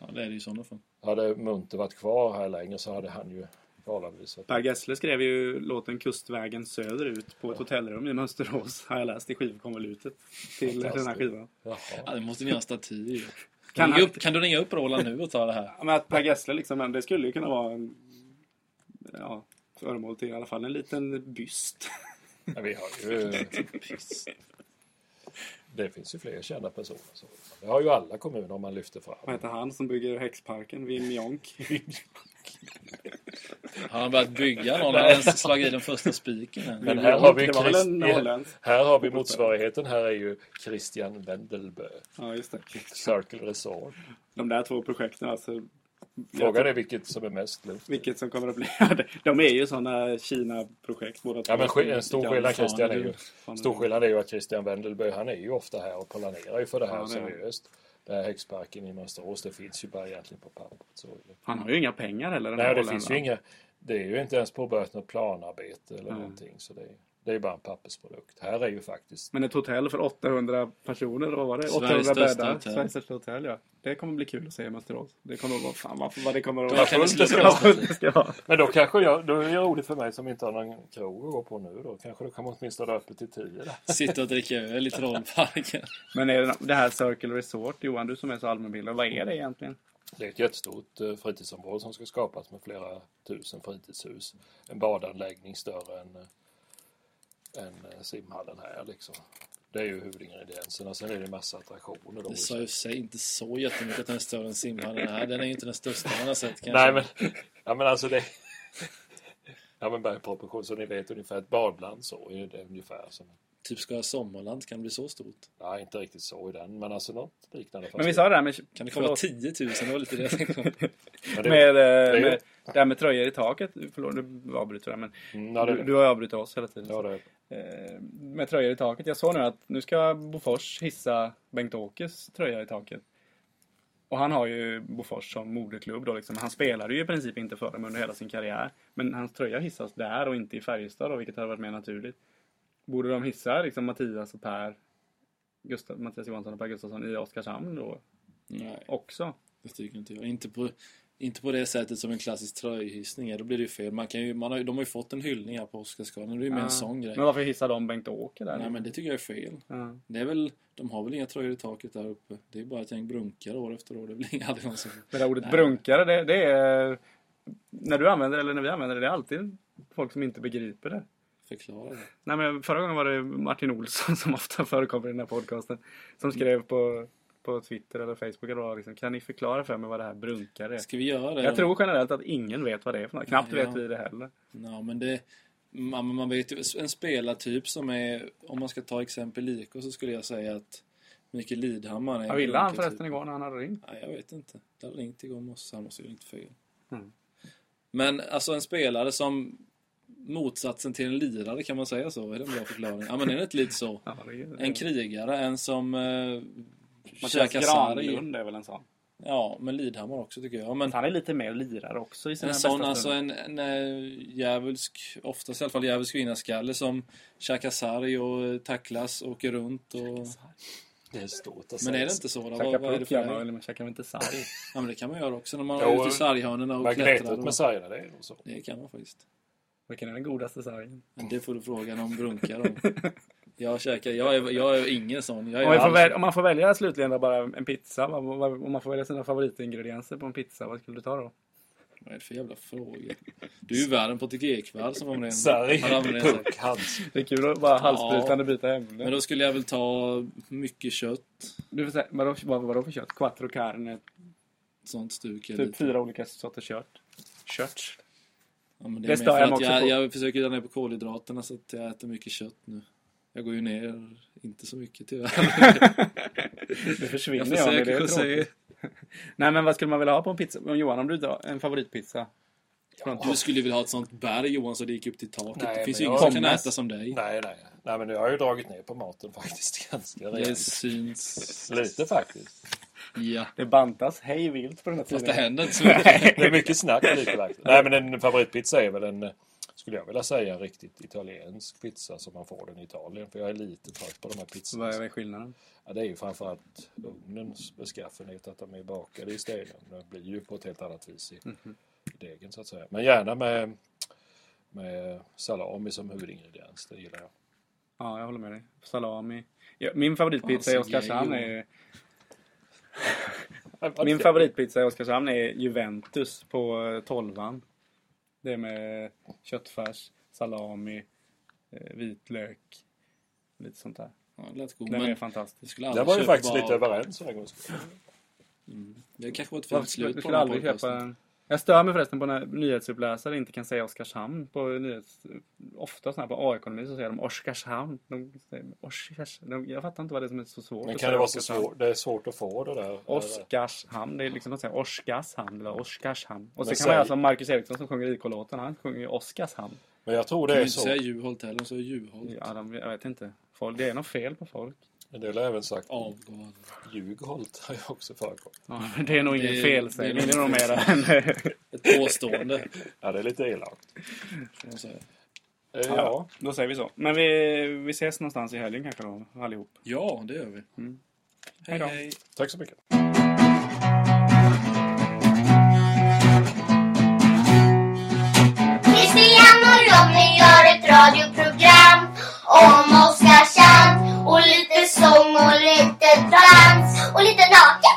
Speaker 3: Ja, det är det i sådana fall.
Speaker 4: Hade Munter varit kvar här längre så hade han ju förhållandevis...
Speaker 2: Per Gessle skrev ju låten Kustvägen söderut på ett hotellrum i Mönsterås, har jag läst i skivkonvolutet till den här
Speaker 4: Fantastiskt.
Speaker 2: skivan.
Speaker 4: Jaha.
Speaker 3: Ja, det måste ni göra staty i.
Speaker 2: Kan
Speaker 3: Kan,
Speaker 2: han-
Speaker 3: ringa upp, kan du ringa upp Roland nu och ta det här?
Speaker 2: Ja, men att Per Gessle liksom, men det skulle ju kunna vara en, ja, föremål till i alla fall en liten byst.
Speaker 4: Men vi har ju... Det finns ju fler kända personer. Så. Det har ju alla kommuner om man lyfter
Speaker 2: Vad
Speaker 4: fram.
Speaker 2: heter han som bygger häxparken? Wim Jonk.
Speaker 3: Har han börjat bygga någon? Har han ens slagit i den första spiken än?
Speaker 4: Men här har vi,
Speaker 2: Det var väl
Speaker 4: Christ...
Speaker 2: en holländsk?
Speaker 4: här har vi motsvarigheten. Här är ju Christian Wendelbö.
Speaker 2: Ja, just det.
Speaker 4: Circle Resort.
Speaker 2: De där två projekten alltså.
Speaker 4: Frågan är vilket som är mest luft.
Speaker 2: Vilket som kommer att bli... De är ju sådana Kina-projekt båda
Speaker 4: Ja, men
Speaker 2: två.
Speaker 4: sk- en stor skillnad,
Speaker 3: fan,
Speaker 4: Christian, är
Speaker 3: du-
Speaker 4: ju,
Speaker 2: fan,
Speaker 4: stor
Speaker 2: du-
Speaker 4: skillnad är ju att Christian Wendelbö, han är ju ofta här och planerar ju för det här
Speaker 2: Ja, det är han.
Speaker 4: seriöst. Den här häxparken i Mönsterås, det finns ju bara egentligen på pappret. Så. är det.
Speaker 2: Han har ju inga pengar heller. den här
Speaker 4: Nej, det
Speaker 2: holländaren.
Speaker 4: finns ju inga... Det är ju inte ens påbörjat något planarbete eller
Speaker 2: Nej.
Speaker 4: någonting. Så det, är- det är ju bara en pappersprodukt. Här är ju faktiskt...
Speaker 2: Men ett hotell för 800 personer, vad var det?
Speaker 3: Sveriges
Speaker 2: 800
Speaker 3: största
Speaker 2: bäddar.
Speaker 3: hotell.
Speaker 2: Sveriges största hotell, ja. Det kommer bli kul att se i Mönsterås. Det kommer att vara... Fan vad, vad det kommer att
Speaker 3: Då
Speaker 2: vara.
Speaker 3: kan vi
Speaker 2: fullt det ska
Speaker 3: sluta.
Speaker 2: vara. fullt det ska vara.
Speaker 4: Men då kanske jag... Då är det roligt för mig som inte har någon krog att gå på nu då. Kanske då kan man åtminstone ha öppet till tio där.
Speaker 3: Sitta och dricka öl i Trollparken.
Speaker 2: Men är det, det här Circle Resort, Johan, du som är så allmänbildad, vad är det egentligen?
Speaker 4: Det är ett jättestort eh, fritidsområde som ska skapas med flera tusen fritidshus. En badanläggning större än, eh, än eh, simhallen här liksom. Det är ju huvudingredienserna. Sen är det massa attraktioner. Då.
Speaker 3: Det sa ju i sig inte så jättemycket att den är större än simhallen är. Den är ju inte den största man har sett kanske.
Speaker 4: Nej, men, ja, men alltså det... Ja, men bara i proportion. Så ni vet ungefär ett badland så. Är det ungefär som...
Speaker 3: Typ ska jag ha sommarland kan det bli så stort.
Speaker 4: Nej, inte riktigt så i den. Men alltså något liknande.
Speaker 2: Men vi sa det här med...
Speaker 3: Kan det komma
Speaker 2: förlåt,
Speaker 3: 10 000? Det var lite det jag tänkte på.
Speaker 4: Men det-
Speaker 2: med, eh,
Speaker 4: ju-
Speaker 2: med, det här med tröjor i taket. Förlåt, nu avbryter jag. Men
Speaker 4: Mm, ja, det,
Speaker 2: du, du har ju avbrutit oss hela tiden.
Speaker 4: ja, det,
Speaker 2: Eh, med tröjor i taket. Jag såg nu att nu ska Bofors hissa Bengt-Åkes tröja i taket. Och han har ju Bofors som moderklubb då liksom. Han spelade ju i princip inte för dem under hela sin karriär. Men hans tröja hissas där och inte i Färjestad då, vilket hade varit mer naturligt. Borde de hissa liksom Mattias och Per Gustav, Mattias Johansson och Per Gustafsson i Oskarshamn då
Speaker 3: Nej,
Speaker 2: också?
Speaker 3: det tycker inte jag. Inte på, inte på det sättet som en klassisk tröjhissning är. Då blir det ju fel. Man kan ju, man har, ju- de har ju fått en hyllning här på Oscarsgalan. Det är ju mer
Speaker 2: Ja.
Speaker 3: en sån grej.
Speaker 2: Men varför hissar de Bengt-Åke där?
Speaker 3: Nej, men det tycker jag är fel.
Speaker 2: Ja.
Speaker 3: Det är väl, de har väl inga tröjor i taket där uppe. Det är bara ett gäng brunkar år efter år. Det blir aldrig någon som...
Speaker 2: Det där ordet
Speaker 3: Nej.
Speaker 2: brunkare, det, det är... När du använder det, eller när vi använder det, det är alltid folk som inte begriper det.
Speaker 3: Förklara det.
Speaker 2: Nej, men förra gången var det Martin Olsson som ofta förekommer i den här podcasten. Som skrev på, på Twitter eller Facebook eller vad, liksom, Kan ni förklara för mig vad det här brunkare är?
Speaker 3: Ska vi göra det?
Speaker 2: Jag tror generellt att ingen vet vad det är för något. Knappt
Speaker 3: Ja.
Speaker 2: vet vi det heller.
Speaker 3: Ja, men det... Man, man vet ju, en spelartyp som är... Om man ska ta exempel IK så skulle jag säga att Mikael Lidhammar är... en typ.
Speaker 2: Jag ville han
Speaker 3: brunkartyp.
Speaker 2: förresten igår när han hade ringt.
Speaker 3: Nej, jag vet inte. Det hade ringt igår morse. Han måste ju ringt fel.
Speaker 2: Mm.
Speaker 3: Men alltså en spelare som... Motsatsen till en lirare, kan man säga så? Är det en bra förklaring? Ja, men är det inte lite så?
Speaker 2: Ja, det är-
Speaker 3: En krigare, en som... Eh,
Speaker 2: Mattias
Speaker 3: käkar sarg.
Speaker 2: Granlund är väl en sån.
Speaker 3: Ja, men Lidhammar också tycker jag. Men
Speaker 2: Han är lite mer lirare också i sina
Speaker 3: en sån,
Speaker 2: bästa
Speaker 3: alltså
Speaker 2: stunder.
Speaker 3: en, en eh, djävulsk, oftast i alla fall djävulsk vinnarskalle som käkar sarg och eh, tacklas, åker runt och...
Speaker 4: det är stort att
Speaker 3: Men är
Speaker 4: säga.
Speaker 3: det inte så? Då?
Speaker 2: Käka
Speaker 3: Vad, vad är det
Speaker 2: puck
Speaker 3: för
Speaker 2: gör man
Speaker 3: dig?
Speaker 2: väl, men käkar man inte sarg?
Speaker 3: Ja, men det kan man göra också när man
Speaker 4: Jo,
Speaker 3: är ute i sarghörnorna och
Speaker 4: Man
Speaker 3: klättrar.
Speaker 4: gnetar
Speaker 3: Och...
Speaker 4: med sargerna, det är nog så.
Speaker 3: Det kan man faktiskt.
Speaker 2: Vilken är den godaste sargen?
Speaker 3: Men det får du fråga någon brunkar om. Jag käkar, jag är, jag är ingen sån. Jag är
Speaker 2: Om, vi får
Speaker 3: alls-
Speaker 2: välja, om man får välja slutligen då bara en pizza, vad- vad- om man får välja sina favoritingredienser på en pizza, vad skulle du ta då?
Speaker 3: Vad är det för jävla fråga? Du är ju värre än Patrik Ekwall som använder
Speaker 4: Sarg,
Speaker 3: han använder en
Speaker 4: puck, hands.
Speaker 2: Det är kul att bara halsbrytande byta
Speaker 3: Men
Speaker 2: ämne.
Speaker 3: då skulle jag väl ta mycket kött.
Speaker 2: Du får säga, vadå, vad, vadå för kött? Quattro carne,
Speaker 3: Sånt stuk. är
Speaker 2: typ
Speaker 3: lite-
Speaker 2: fyra olika sorters kött. Kött?
Speaker 3: Ja, men det
Speaker 2: Det
Speaker 3: är mer
Speaker 2: stör jag
Speaker 3: för
Speaker 2: mig
Speaker 3: att
Speaker 2: också
Speaker 3: jag,
Speaker 2: på.
Speaker 3: jag försöker dra ner på kolhydraterna så att jag äter mycket kött nu. Jag går ju ner, inte så mycket tyvärr.
Speaker 2: Det försvinner
Speaker 3: Jag
Speaker 2: jag, men det är
Speaker 3: försöker att säga,
Speaker 2: tråkigt. Nej men vad skulle man vilja ha på en pizza? Om Johan, om du tar en favoritpizza? Från-
Speaker 3: du skulle vilja ha ett sånt berg Johan så det gick upp till taket.
Speaker 4: Nej,
Speaker 3: det finns ju ingen
Speaker 4: men jag-
Speaker 3: som kan
Speaker 2: Pommes.
Speaker 3: äta som dig.
Speaker 4: Nej, nej. Nej, men nu har jag ju dragit ner på maten faktiskt ganska
Speaker 3: Det
Speaker 4: rejält.
Speaker 3: syns.
Speaker 4: Lite faktiskt.
Speaker 3: Ja.
Speaker 2: Det bantas hej vilt på den här
Speaker 3: Fast det
Speaker 2: tiden.
Speaker 3: händer inte så mycket.
Speaker 4: Det är mycket snack lite faktiskt. Nej, men en favoritpizza är väl en, eh, skulle jag vilja säga, en riktigt italiensk pizza som man får den i Italien. För jag är lite trött på de här pizzorna.
Speaker 2: Vad är skillnaden?
Speaker 4: Ja, det är ju framförallt ugnens beskaffenhet, att de är bakade i stenen. De blir ju på ett helt annat vis i
Speaker 2: Mhm.
Speaker 4: i degen så att säga. Men gärna med, med salami som huvudingrediens, det gillar jag.
Speaker 2: Ja, jag håller med dig. Salami. Ja, min favoritpizza i
Speaker 3: Fan, så gay,
Speaker 2: Oskarshamn är
Speaker 3: Johan.
Speaker 2: ju Min favoritpizza i Oskarshamn är Juventus på eh, tolvan. Det är med köttfärs, salami, eh, vitlök, lite sånt där.
Speaker 3: Ja, det lät god,
Speaker 2: Den är
Speaker 3: men
Speaker 2: fantastisk.
Speaker 3: jag skulle
Speaker 4: Där
Speaker 3: aldrig
Speaker 4: var vi
Speaker 3: köpa
Speaker 4: faktiskt lite
Speaker 3: av-
Speaker 4: överens för en gångs skull.
Speaker 3: Det kanske var ett
Speaker 2: Varför
Speaker 3: fint
Speaker 2: skulle,
Speaker 3: slut
Speaker 2: du
Speaker 3: på
Speaker 2: skulle
Speaker 3: den här
Speaker 2: aldrig köpa
Speaker 3: podcasten.
Speaker 2: en... Jag stör mig förresten på när nyhetsuppläsare inte kan säga Oskarshamn. På nyhets... Ofta såna här på A-ekonomi så säger de Oskarshamn. De säger Oskars... de... Jag fattar inte vad det är som är så svårt
Speaker 4: Men
Speaker 2: att
Speaker 4: kan
Speaker 2: säga
Speaker 4: det vara så
Speaker 2: Oskarshamn.
Speaker 4: svårt? Det är svårt att få det där.
Speaker 2: Oskarshamn. Det är liksom att säga Oskarshamn eller Oskarshamn. Och så
Speaker 4: Men
Speaker 2: kan man göra
Speaker 4: säg-
Speaker 2: som Marcus Eriksson som sjunger IK-låten. Han sjunger ju Oskarshamn.
Speaker 4: Men jag tror
Speaker 3: Kan
Speaker 4: det
Speaker 3: du
Speaker 4: är
Speaker 3: inte
Speaker 4: så.
Speaker 3: säga Juholt heller, så är Juholt
Speaker 2: Ja, de, jag vet inte. Folk, det är något fel på folk.
Speaker 4: En del har även sagt
Speaker 3: avgående.
Speaker 4: Ljugholt har ju också förekommit.
Speaker 2: det är nog ingen
Speaker 3: Det-
Speaker 2: felsägning.
Speaker 3: det
Speaker 2: Det
Speaker 3: är
Speaker 2: är
Speaker 3: nog
Speaker 2: nog
Speaker 3: inte
Speaker 2: mer än...
Speaker 3: Ett påstående,
Speaker 4: Ja, det är lite elakt.
Speaker 3: kan man säga.
Speaker 4: Eh, Ja,
Speaker 2: ja, då säger vi så. Men vi, vi ses någonstans i helgen kanske då, allihop.
Speaker 3: Ja, det gör vi. Hej,
Speaker 2: Mm. Hej då.
Speaker 3: hej.
Speaker 4: tack så mycket.
Speaker 1: Christian och Ronny gör ett radioprogram om Oskarshamn och lite sång och lite dans och lite naket.